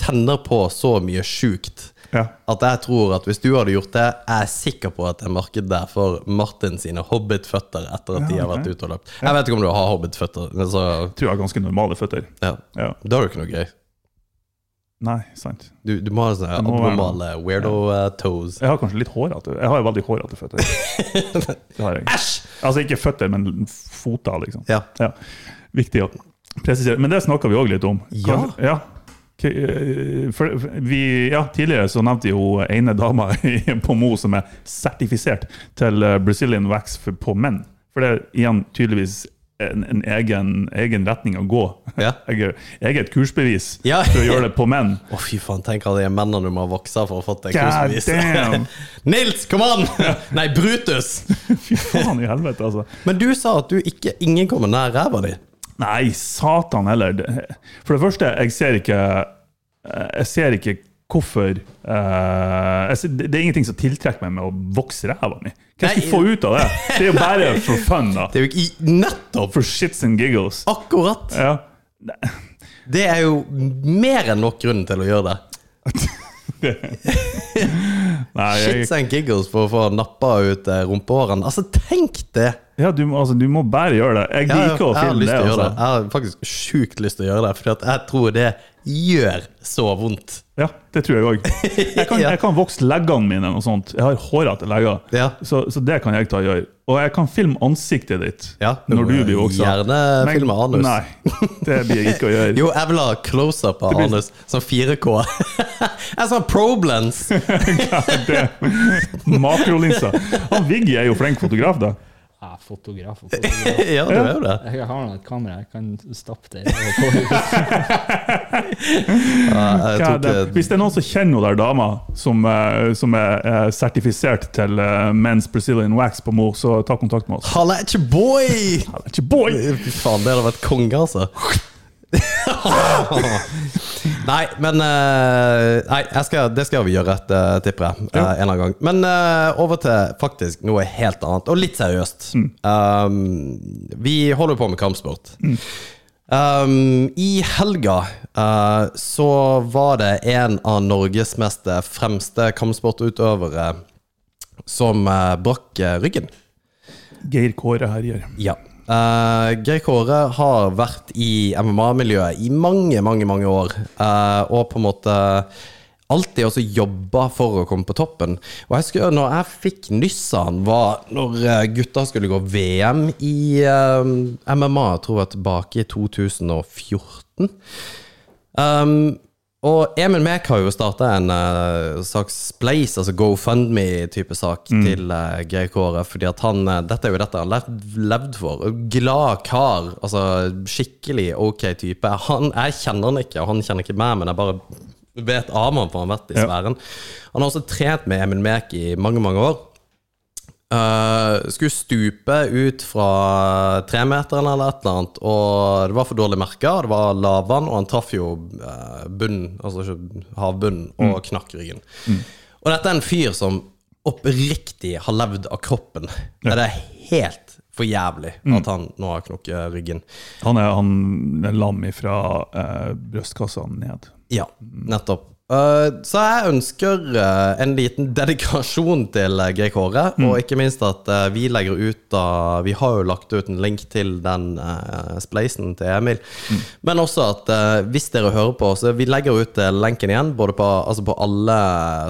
[SPEAKER 3] tenner på så mye sjukt
[SPEAKER 4] Ja.
[SPEAKER 3] at jeg tror at hvis du hadde gjort det, jeg er sikker på at det er marked der for Martin sine hobbitføtter etter at de har vært
[SPEAKER 4] ok.
[SPEAKER 3] ute og løpt. Jeg vet ikke om du har hobbitføtter, men så
[SPEAKER 4] Tror jeg har ganske normale føtter.
[SPEAKER 3] ja.
[SPEAKER 4] Ja.
[SPEAKER 3] Da har du ikke noe gøy.
[SPEAKER 4] Nei, sant.
[SPEAKER 3] Du, du må ha sånne
[SPEAKER 4] må være
[SPEAKER 3] abnormale weirdo eh, toes.
[SPEAKER 4] Jeg har kanskje litt hårete Jeg har jo veldig hårete føtter. Det har jeg.
[SPEAKER 3] Æsj!
[SPEAKER 4] Altså ikke føtter, men foter, liksom.
[SPEAKER 3] Ja.
[SPEAKER 4] Ja. Viktig å presisere. Men det snakka vi òg litt om.
[SPEAKER 3] Ja.
[SPEAKER 4] ja. K- eh, For, for- vi, ja, tidligere så nevnte jo ene dama i- på Mo som er sertifisert til eh, Brazilian wax for, på menn. For det er igjen tydeligvis en, en egen, egen retning å gå.
[SPEAKER 3] Ja.
[SPEAKER 4] Eget, eget kursbevis
[SPEAKER 3] Ja.
[SPEAKER 4] for å gjøre det på menn.
[SPEAKER 3] Å, fy faen, tenk alle de mennene du må ha voksa for å få deg
[SPEAKER 4] God
[SPEAKER 3] kursbevis.
[SPEAKER 4] damn!
[SPEAKER 3] Nils, kom an! Nei, Brutus!
[SPEAKER 4] Fy faen i helvete, altså.
[SPEAKER 3] Men du sa at du ikke, ingen kommer nær ræva di.
[SPEAKER 4] Nei, satan heller. Det- For det første, jeg ser ikke eh, Jeg ser ikke hvorfor eh, jeg ser, Det det er ingenting som tiltrekker meg med å vokse ræva mi. Hva skal jeg
[SPEAKER 3] Nei.
[SPEAKER 4] få ut av det? Det er jo bare for fun, da.
[SPEAKER 3] Det er jo ikke i- nettopp
[SPEAKER 4] For shits and giggles.
[SPEAKER 3] akkurat.
[SPEAKER 4] Ja.
[SPEAKER 3] Det er jo mer enn nok grunn til å gjøre det.
[SPEAKER 4] Nei, jeg,
[SPEAKER 3] Shits and giggles for å få nappa ut eh, rumpehårene. Altså, tenk det!
[SPEAKER 4] ja, du, må- altså, du må bare gjøre det. Jeg
[SPEAKER 3] Ja, ja,
[SPEAKER 4] liker å
[SPEAKER 3] jeg har
[SPEAKER 4] filme
[SPEAKER 3] lyst
[SPEAKER 4] det.
[SPEAKER 3] til å gjøre det.
[SPEAKER 4] Altså.
[SPEAKER 3] Jeg har faktisk sjukt lyst til å gjøre det, for jeg tror det gjør så vondt.
[SPEAKER 4] Ja, det tror jeg òg. Jeg, kan-
[SPEAKER 3] Ja.
[SPEAKER 4] jeg kan vokse leggene mine. og sånt. Jeg har hårete legger,
[SPEAKER 3] Ja.
[SPEAKER 4] så, så det kan jeg ta og gjøre. Og jeg kan filme ansiktet ditt
[SPEAKER 3] Ja, du
[SPEAKER 4] når du
[SPEAKER 3] må
[SPEAKER 4] blir voksen.
[SPEAKER 3] gjerne filme anus.
[SPEAKER 4] Nei, det blir jeg ikke å gjøre.
[SPEAKER 3] Jo, jeg vil ha close-up av
[SPEAKER 4] blir-
[SPEAKER 3] anus, som 4K. jeg sånn sa Problens!
[SPEAKER 4] Makrolinser. Han Viggy er jo flink fotograf, da.
[SPEAKER 5] Jeg er fotograf og fotograf.
[SPEAKER 3] ja, du er jo det.
[SPEAKER 5] Jeg har nå et kamera, jeg kan stappe det. i overkåret.
[SPEAKER 3] Ja, jeg
[SPEAKER 4] Hva er
[SPEAKER 3] tok,
[SPEAKER 4] det?
[SPEAKER 3] eh,
[SPEAKER 4] Hvis det er noen som kjenner hun der dama som, eh, som er eh, sertifisert til eh, Men's Brazilian Wax på Mo, så ta kontakt med oss.
[SPEAKER 3] Halla, it's your boy!
[SPEAKER 4] Han er Ikke boy!
[SPEAKER 3] Fy faen, det hadde vært konge, altså. nei, men eh, Nei, jeg skal, det skal vi gjøre, et, eh, tipper jeg. eh, en eller annen gang. Men eh, over til faktisk noe helt annet, og litt seriøst. Um, vi holder på med kampsport. Um, I helga eh, så var det en av Norges mest eh, fremste kampsportutøvere eh, som eh, brakk eh, ryggen.
[SPEAKER 4] Geir Kåre herjer.
[SPEAKER 3] Ja. Eh, Geir Kåre har vært i MMA-miljøet i mange, mange mange år. eh, og på en måte alltid også jobba for å komme på toppen. Og jeg husker når jeg fikk nyss av han, var når eh, gutta skulle gå VM i eh, MMA, jeg tror jeg var tilbake i 2014. Um, og Emil Mek har jo starta en eh, slags spleis, altså GoFundMe-type sak, til uh, Geir Kåre. Fordi at han eh, Dette er jo dette han har levd, levd for. Glad kar. Altså skikkelig ok type. Han, jeg kjenner han ikke, og han kjenner ikke meg, men jeg bare vet av ham, for han har vært i
[SPEAKER 4] Ja.
[SPEAKER 3] sfæren. Han har også trent med Emil Mek i mange, mange år. Eh, skulle stupe ut fra tremeteren eller et eller annet, og det var for dårlig merka, det var lavvann, og han traff jo eh, bunnen, altså ikke havbunnen, og knakk ryggen. Og dette er en fyr som oppriktig har levd av kroppen. Det er helt for jævlig at han nå har knukket ryggen.
[SPEAKER 4] Han er, han er lam ifra eh, brystkassa ned.
[SPEAKER 3] Ja, nettopp. Eh, så jeg ønsker eh, en liten dedikasjon til eh, Geir Kåre, og ikke minst at eh, vi legger ut da Vi har jo lagt ut en link til den eh, spleisen til Emil. Men også at eh, hvis dere hører på, så vi legger ut eh, lenken igjen, både på, altså på alle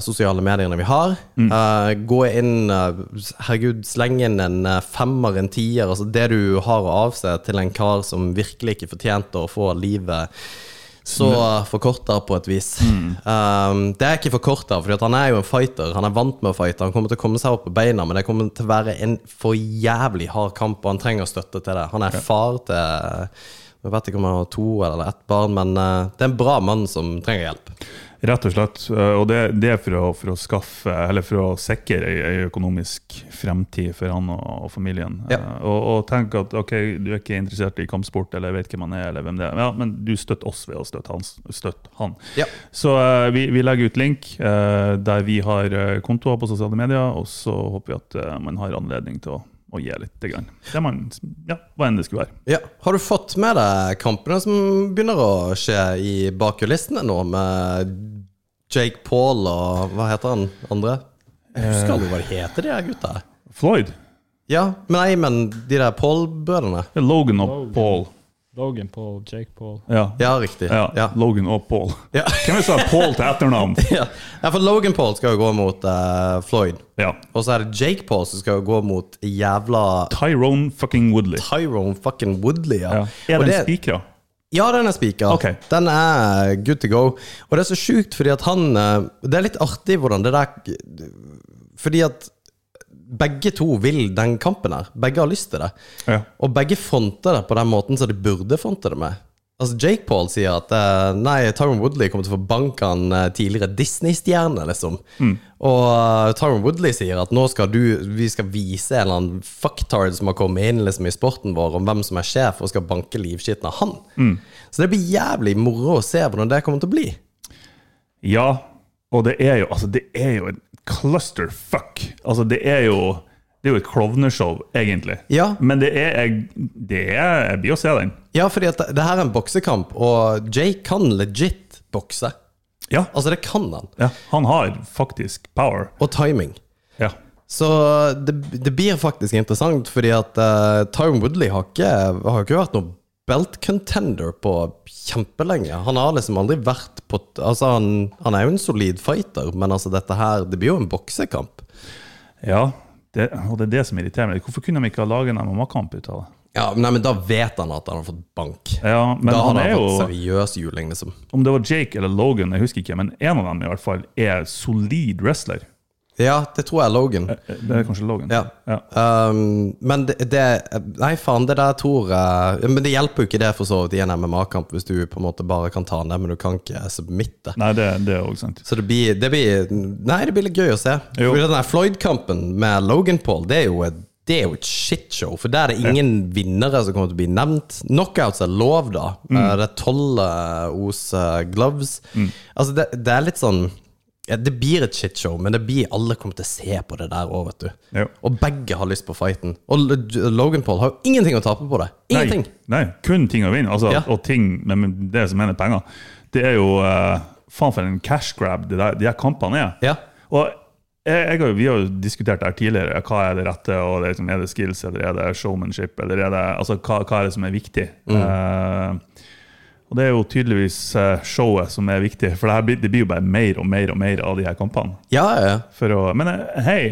[SPEAKER 3] sosiale mediene vi har. Eh, gå inn eh, Herregud, sleng inn en eh, femmer, en tier, altså det du har å avse til en kar som virkelig ikke fortjente å få livet så forkorta på et vis. Um, det er ikke forkorta, for han er jo en fighter. Han er vant med å fighte. Han kommer til å komme seg opp på beina, men det kommer til å være en for jævlig hard kamp, og han trenger støtte til det. Han er far til jeg vet ikke om han har to eller ett barn, men uh, det er en bra mann som trenger hjelp.
[SPEAKER 4] Rett og slett. eh, Og det, det er for å, for å skaffe, eller for å sikre ei, ei økonomisk fremtid for han og, og familien.
[SPEAKER 3] Ja.
[SPEAKER 4] Eh, Og, og tenk at ok, du er ikke interessert i kampsport, eller vet hvem han er, eller hvem det er. Ja, men du støtter oss ved å støtte, hans, støtte han.
[SPEAKER 3] Ja.
[SPEAKER 4] Så eh, vi, vi legger ut link eh, der vi har eh, kontoer på sosiale medier, og så håper vi at eh, man har anledning til å, å gi litt. Grann. Det man, ja, hva enn det skulle være.
[SPEAKER 3] Ja. Har du fått med deg kampene som begynner å skje i bak kulissene nå, med Jake Paul og hva heter han andre? Jeg husker aldri hva de heter, de her gutta.
[SPEAKER 4] Floyd.
[SPEAKER 3] Ja, men nei, men de der Paul-brødrene.
[SPEAKER 4] Det er Logan og
[SPEAKER 5] Logan.
[SPEAKER 4] Paul.
[SPEAKER 5] Logan Paul, Jake Paul.
[SPEAKER 4] Ja.
[SPEAKER 3] Ja, riktig.
[SPEAKER 4] Ja,
[SPEAKER 3] Ja.
[SPEAKER 4] Logan og Paul.
[SPEAKER 3] Ja.
[SPEAKER 4] Hvem er det som har Paul til etternavn?
[SPEAKER 3] Ja. ja, for Logan Paul skal jo gå mot eh, Floyd.
[SPEAKER 4] Ja.
[SPEAKER 3] Og så er det Jake Paul som skal gå mot jævla
[SPEAKER 4] Tyrone fucking Woodley.
[SPEAKER 3] Tyrone fucking Woodley. Ja.
[SPEAKER 4] Ja. Er
[SPEAKER 3] Og
[SPEAKER 4] den
[SPEAKER 3] det,
[SPEAKER 4] spikra?
[SPEAKER 3] Ja, den er spika.
[SPEAKER 4] Ok.
[SPEAKER 3] Den er good to go. Og det er så sjukt, fordi at han eh, Det er litt artig hvordan det der Fordi at begge to vil den kampen her. Begge har lyst til det.
[SPEAKER 4] Ja.
[SPEAKER 3] Og begge fronter det på den måten som de burde fronte det med. Altså Jake Paul sier at eh, nei, Tyron Woodley kommer til å forbanke han eh, tidligere Disney-stjerne, liksom. Og eh, Tyron Woodley sier at nå skal du, vi skal vise en eller annen fucktard som har kommet inn liksom, i sporten vår, om hvem som er sjef, og skal banke livskitten av han. Så det blir jævlig moro å se hvordan det kommer til å bli.
[SPEAKER 4] Ja, og det er jo altså det er jo en clusterfuck. Altså det er jo det er jo et klovneshow, egentlig.
[SPEAKER 3] Ja.
[SPEAKER 4] Men det er jeg, det er, jeg blir å se den.
[SPEAKER 3] Ja, fordi at det, det her er en boksekamp, og Jake kan legit bokse.
[SPEAKER 4] Ja.
[SPEAKER 3] Altså, det kan han.
[SPEAKER 4] ja. Han har faktisk power.
[SPEAKER 3] Og timing.
[SPEAKER 4] Ja.
[SPEAKER 3] Så det, det blir faktisk interessant, fordi at uh, Tyron Woodley har ikke, har ikke vært noen belt contender på kjempelenge. Han har liksom aldri vært på Altså, han, han er jo en solid fighter, men altså, dette her Det blir jo en boksekamp.
[SPEAKER 4] ja. Det, og det er det som irriterer meg. Hvorfor kunne de ikke ha laget en MMA-kamp ut av det?
[SPEAKER 3] Ja, men, nei, men da vet han at han har fått bank.
[SPEAKER 4] Ja, men
[SPEAKER 3] da
[SPEAKER 4] han
[SPEAKER 3] har
[SPEAKER 4] er
[SPEAKER 3] fått
[SPEAKER 4] jo
[SPEAKER 3] seriøs juling, liksom.
[SPEAKER 4] Om det var Jake eller Logan, jeg husker ikke, men en av dem i hvert fall er solid wrestler.
[SPEAKER 3] Ja, det tror jeg er Logan.
[SPEAKER 4] Det er kanskje Logan.
[SPEAKER 3] Ja.
[SPEAKER 4] Ja.
[SPEAKER 3] Um, men det, det Nei, faen, det der tror jeg Men det hjelper jo ikke det for så vidt i en MMA-kamp, hvis du på en måte bare kan ta den, men du kan ikke submitte.
[SPEAKER 4] Nei, det, det er også sant.
[SPEAKER 3] Så det blir, det blir Nei, det blir litt gøy å se.
[SPEAKER 4] Jo.
[SPEAKER 3] For den der Floyd-kampen med Logan Paul, det er jo et, det er jo et shitshow. For der er det ingen vinnere som kommer til å bli nevnt. Knockouts er lov, da.
[SPEAKER 4] Mm.
[SPEAKER 3] Eh, Det er tolv eh, os eh, gloves. Altså, det, det er litt sånn ja, Det blir et shitshow, men det blir alle kommer til å se på det der òg, vet du.
[SPEAKER 4] Jo.
[SPEAKER 3] Og begge har lyst på fighten. Og L- Logan Paul har jo ingenting å tape på det. Ingenting.
[SPEAKER 4] Nei, nei, kun ting å vinne. Altså,
[SPEAKER 3] Ja.
[SPEAKER 4] Og ting men- men det som mener penger. Det er jo eh, Faen for en cash grab det der, de her kampene er.
[SPEAKER 3] Ja.
[SPEAKER 4] Og jeg, jeg har, jo- vi har jo diskutert det her tidligere. Hva er det rette? og det, er liksom, Er det skills, eller er det showmanship? eller er det, altså, Hva, hva er det som er viktig?
[SPEAKER 3] Mm.
[SPEAKER 4] Eh, og det er jo tydeligvis eh, showet som er viktig, for det, her, blir- det blir jo bare mer og mer og mer av de her kampene.
[SPEAKER 3] Ja, ja.
[SPEAKER 4] For å, men eh, hei,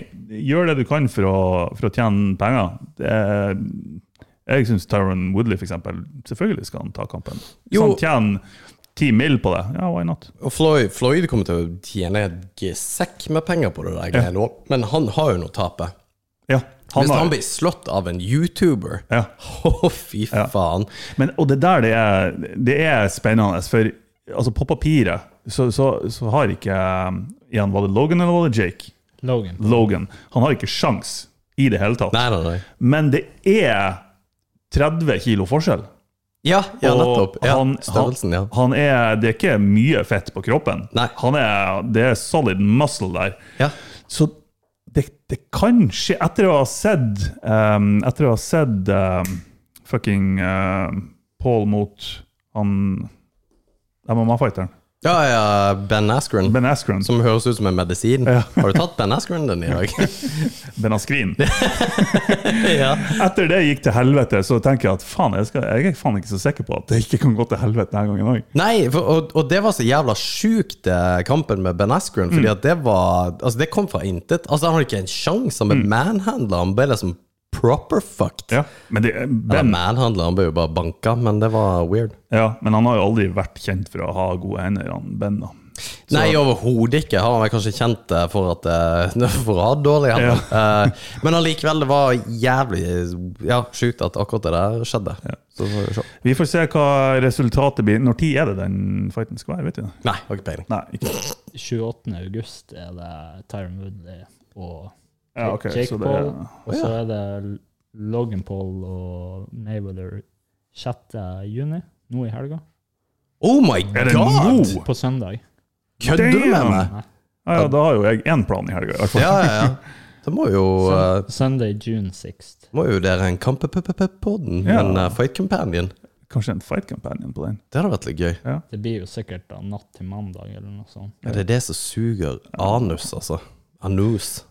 [SPEAKER 4] gjør det du kan for å, for å tjene penger. Det er, jeg syns Tyron Woodley, for eksempel, selvfølgelig skal han ta kampen. Hvis
[SPEAKER 3] Jo.
[SPEAKER 4] han tjener ti mil på det, ja, why not?
[SPEAKER 3] Og Floyd, Floyd kommer til å tjene en gesekk med penger på det der greiene òg, men han har jo noe å tape.
[SPEAKER 4] Ja,
[SPEAKER 3] Hvis
[SPEAKER 4] han har-
[SPEAKER 3] han blir slått av en YouTuber Å,
[SPEAKER 4] Ja.
[SPEAKER 3] fy faen.
[SPEAKER 4] Men, og det der det er, det er spennende, for altså, på papiret så, så, så har ikke um, igjen, Var det Logan eller var det Jake?
[SPEAKER 5] Logan.
[SPEAKER 4] Logan. Han har ikke sjans i det hele tatt.
[SPEAKER 3] Nei, nei, nei.
[SPEAKER 4] Men det er 30 kilo forskjell.
[SPEAKER 3] Ja, ja
[SPEAKER 4] Og
[SPEAKER 3] nettopp. Ja,
[SPEAKER 4] han,
[SPEAKER 3] størrelsen, ja.
[SPEAKER 4] Han er, det er ikke mye fett på kroppen.
[SPEAKER 3] Nei.
[SPEAKER 4] Han er, det er solid muscle der.
[SPEAKER 3] ja.
[SPEAKER 4] Så det, det kan skje Etter å ha sett ehm, Etter å ha sett ehm, fucking ehm, Paul mot han MMA-fighteren.
[SPEAKER 3] Ja, ja, Ben Askren,
[SPEAKER 4] Ben Askren.
[SPEAKER 3] som høres ut som en medisin. Har du tatt Ben Askren din i dag?
[SPEAKER 4] Ben Askrin.
[SPEAKER 3] ja.
[SPEAKER 4] Etter det gikk til helvete, så tenker jeg at faen, jeg, skal, jeg er faen ikke så sikker på at det ikke kan gå til helvete denne gangen òg.
[SPEAKER 3] Nei, for, og, og det var så jævla sjukt, eh, kampen med Ben Askren,
[SPEAKER 4] Mm.
[SPEAKER 3] fordi at det var Altså, det kom fra intet. Altså, han hadde ikke en sjanse, han ble
[SPEAKER 4] Mm.
[SPEAKER 3] manhandla, han ble liksom proper fucked.
[SPEAKER 4] Ja. Men, det-
[SPEAKER 3] Eller
[SPEAKER 4] ben,
[SPEAKER 3] manhandla, han ble jo bare banka, men det var weird.
[SPEAKER 4] ja, men han har jo aldri vært kjent for å ha gode hender, han Ben. da.
[SPEAKER 3] Nei, overhodet ikke. Han er kanskje kjent eh, for at eh, For å ha dårlig hender. Eh, Men allikevel, det var jævlig ja, sjukt at akkurat det der skjedde. Så får vi se.
[SPEAKER 4] Vi får se hva resultatet blir. Når tid er det den fighten skal være? vet du det?
[SPEAKER 3] Nei, har ikke peiling.
[SPEAKER 4] Nei, ikke
[SPEAKER 5] 28. august er det Tyron Woodley og
[SPEAKER 4] ja, ok,
[SPEAKER 5] Jake
[SPEAKER 4] så det
[SPEAKER 5] Paul.
[SPEAKER 4] er-
[SPEAKER 5] Og så er det Logan Paul og Mayweather 6. juni, nå i helga.
[SPEAKER 3] Oh my
[SPEAKER 4] Er det
[SPEAKER 3] god!
[SPEAKER 4] nå?
[SPEAKER 5] På søndag.
[SPEAKER 3] Kødder du med
[SPEAKER 4] Damn!
[SPEAKER 3] meg?
[SPEAKER 4] Ja, ja, da har jo jeg én plan i helga, i hvert fall.
[SPEAKER 3] Ja, ja, ja. Det må jo eh,
[SPEAKER 5] Søn- Sunday, June 6th.
[SPEAKER 3] må jo dere en Kampepuppepodden,
[SPEAKER 4] Ja.
[SPEAKER 3] en eh, Fight Companion.
[SPEAKER 4] Kanskje en fight companion på den.
[SPEAKER 3] Det hadde vært litt gøy.
[SPEAKER 5] Det blir jo sikkert da natt til mandag eller noe sånt.
[SPEAKER 3] Ja, det er det som suger anus, altså. Anus.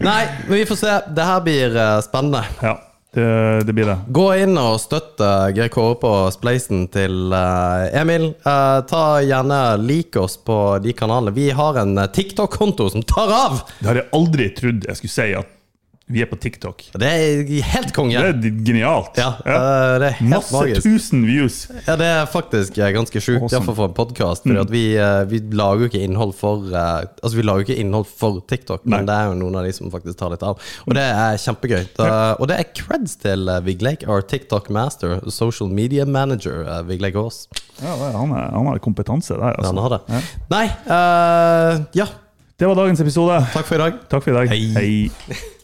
[SPEAKER 3] Nei, men vi får se. Det her blir eh, spennende.
[SPEAKER 4] Ja, det, det blir det.
[SPEAKER 3] Gå inn og støtte Geir Kåre på spleisen til eh, Emil. Eh, ta gjerne Lik oss på de kanalene. Vi har en eh, TikTok-konto som tar av!
[SPEAKER 4] Det har jeg aldri trodd jeg skulle si at Vi er på TikTok.
[SPEAKER 3] Det er helt konge.
[SPEAKER 4] Det er genialt.
[SPEAKER 3] Ja, eh, det er helt
[SPEAKER 4] Masse
[SPEAKER 3] magisk.
[SPEAKER 4] tusen views.
[SPEAKER 3] Ja, det er faktisk eh, ganske sjukt,
[SPEAKER 4] Awesome. Mm.
[SPEAKER 3] iallfall for en podkast. For vi, eh, vi lager jo ikke innhold for eh, Altså, vi lager jo ikke innhold for TikTok,
[SPEAKER 4] Nei.
[SPEAKER 3] men det er jo noen av de som faktisk tar litt av. Og det er kjempegøy. Da, og det er creds til eh, Vigleik, our TikTok master, social media manager, eh, Vigleik Aas.
[SPEAKER 4] Ja, det er- han, er, han har kompetanse der, altså.
[SPEAKER 3] Han har det. Nei eh, Ja,
[SPEAKER 4] Det var dagens episode.
[SPEAKER 3] takk for i dag.
[SPEAKER 4] Takk for i dag.
[SPEAKER 3] Hei.
[SPEAKER 4] Hei.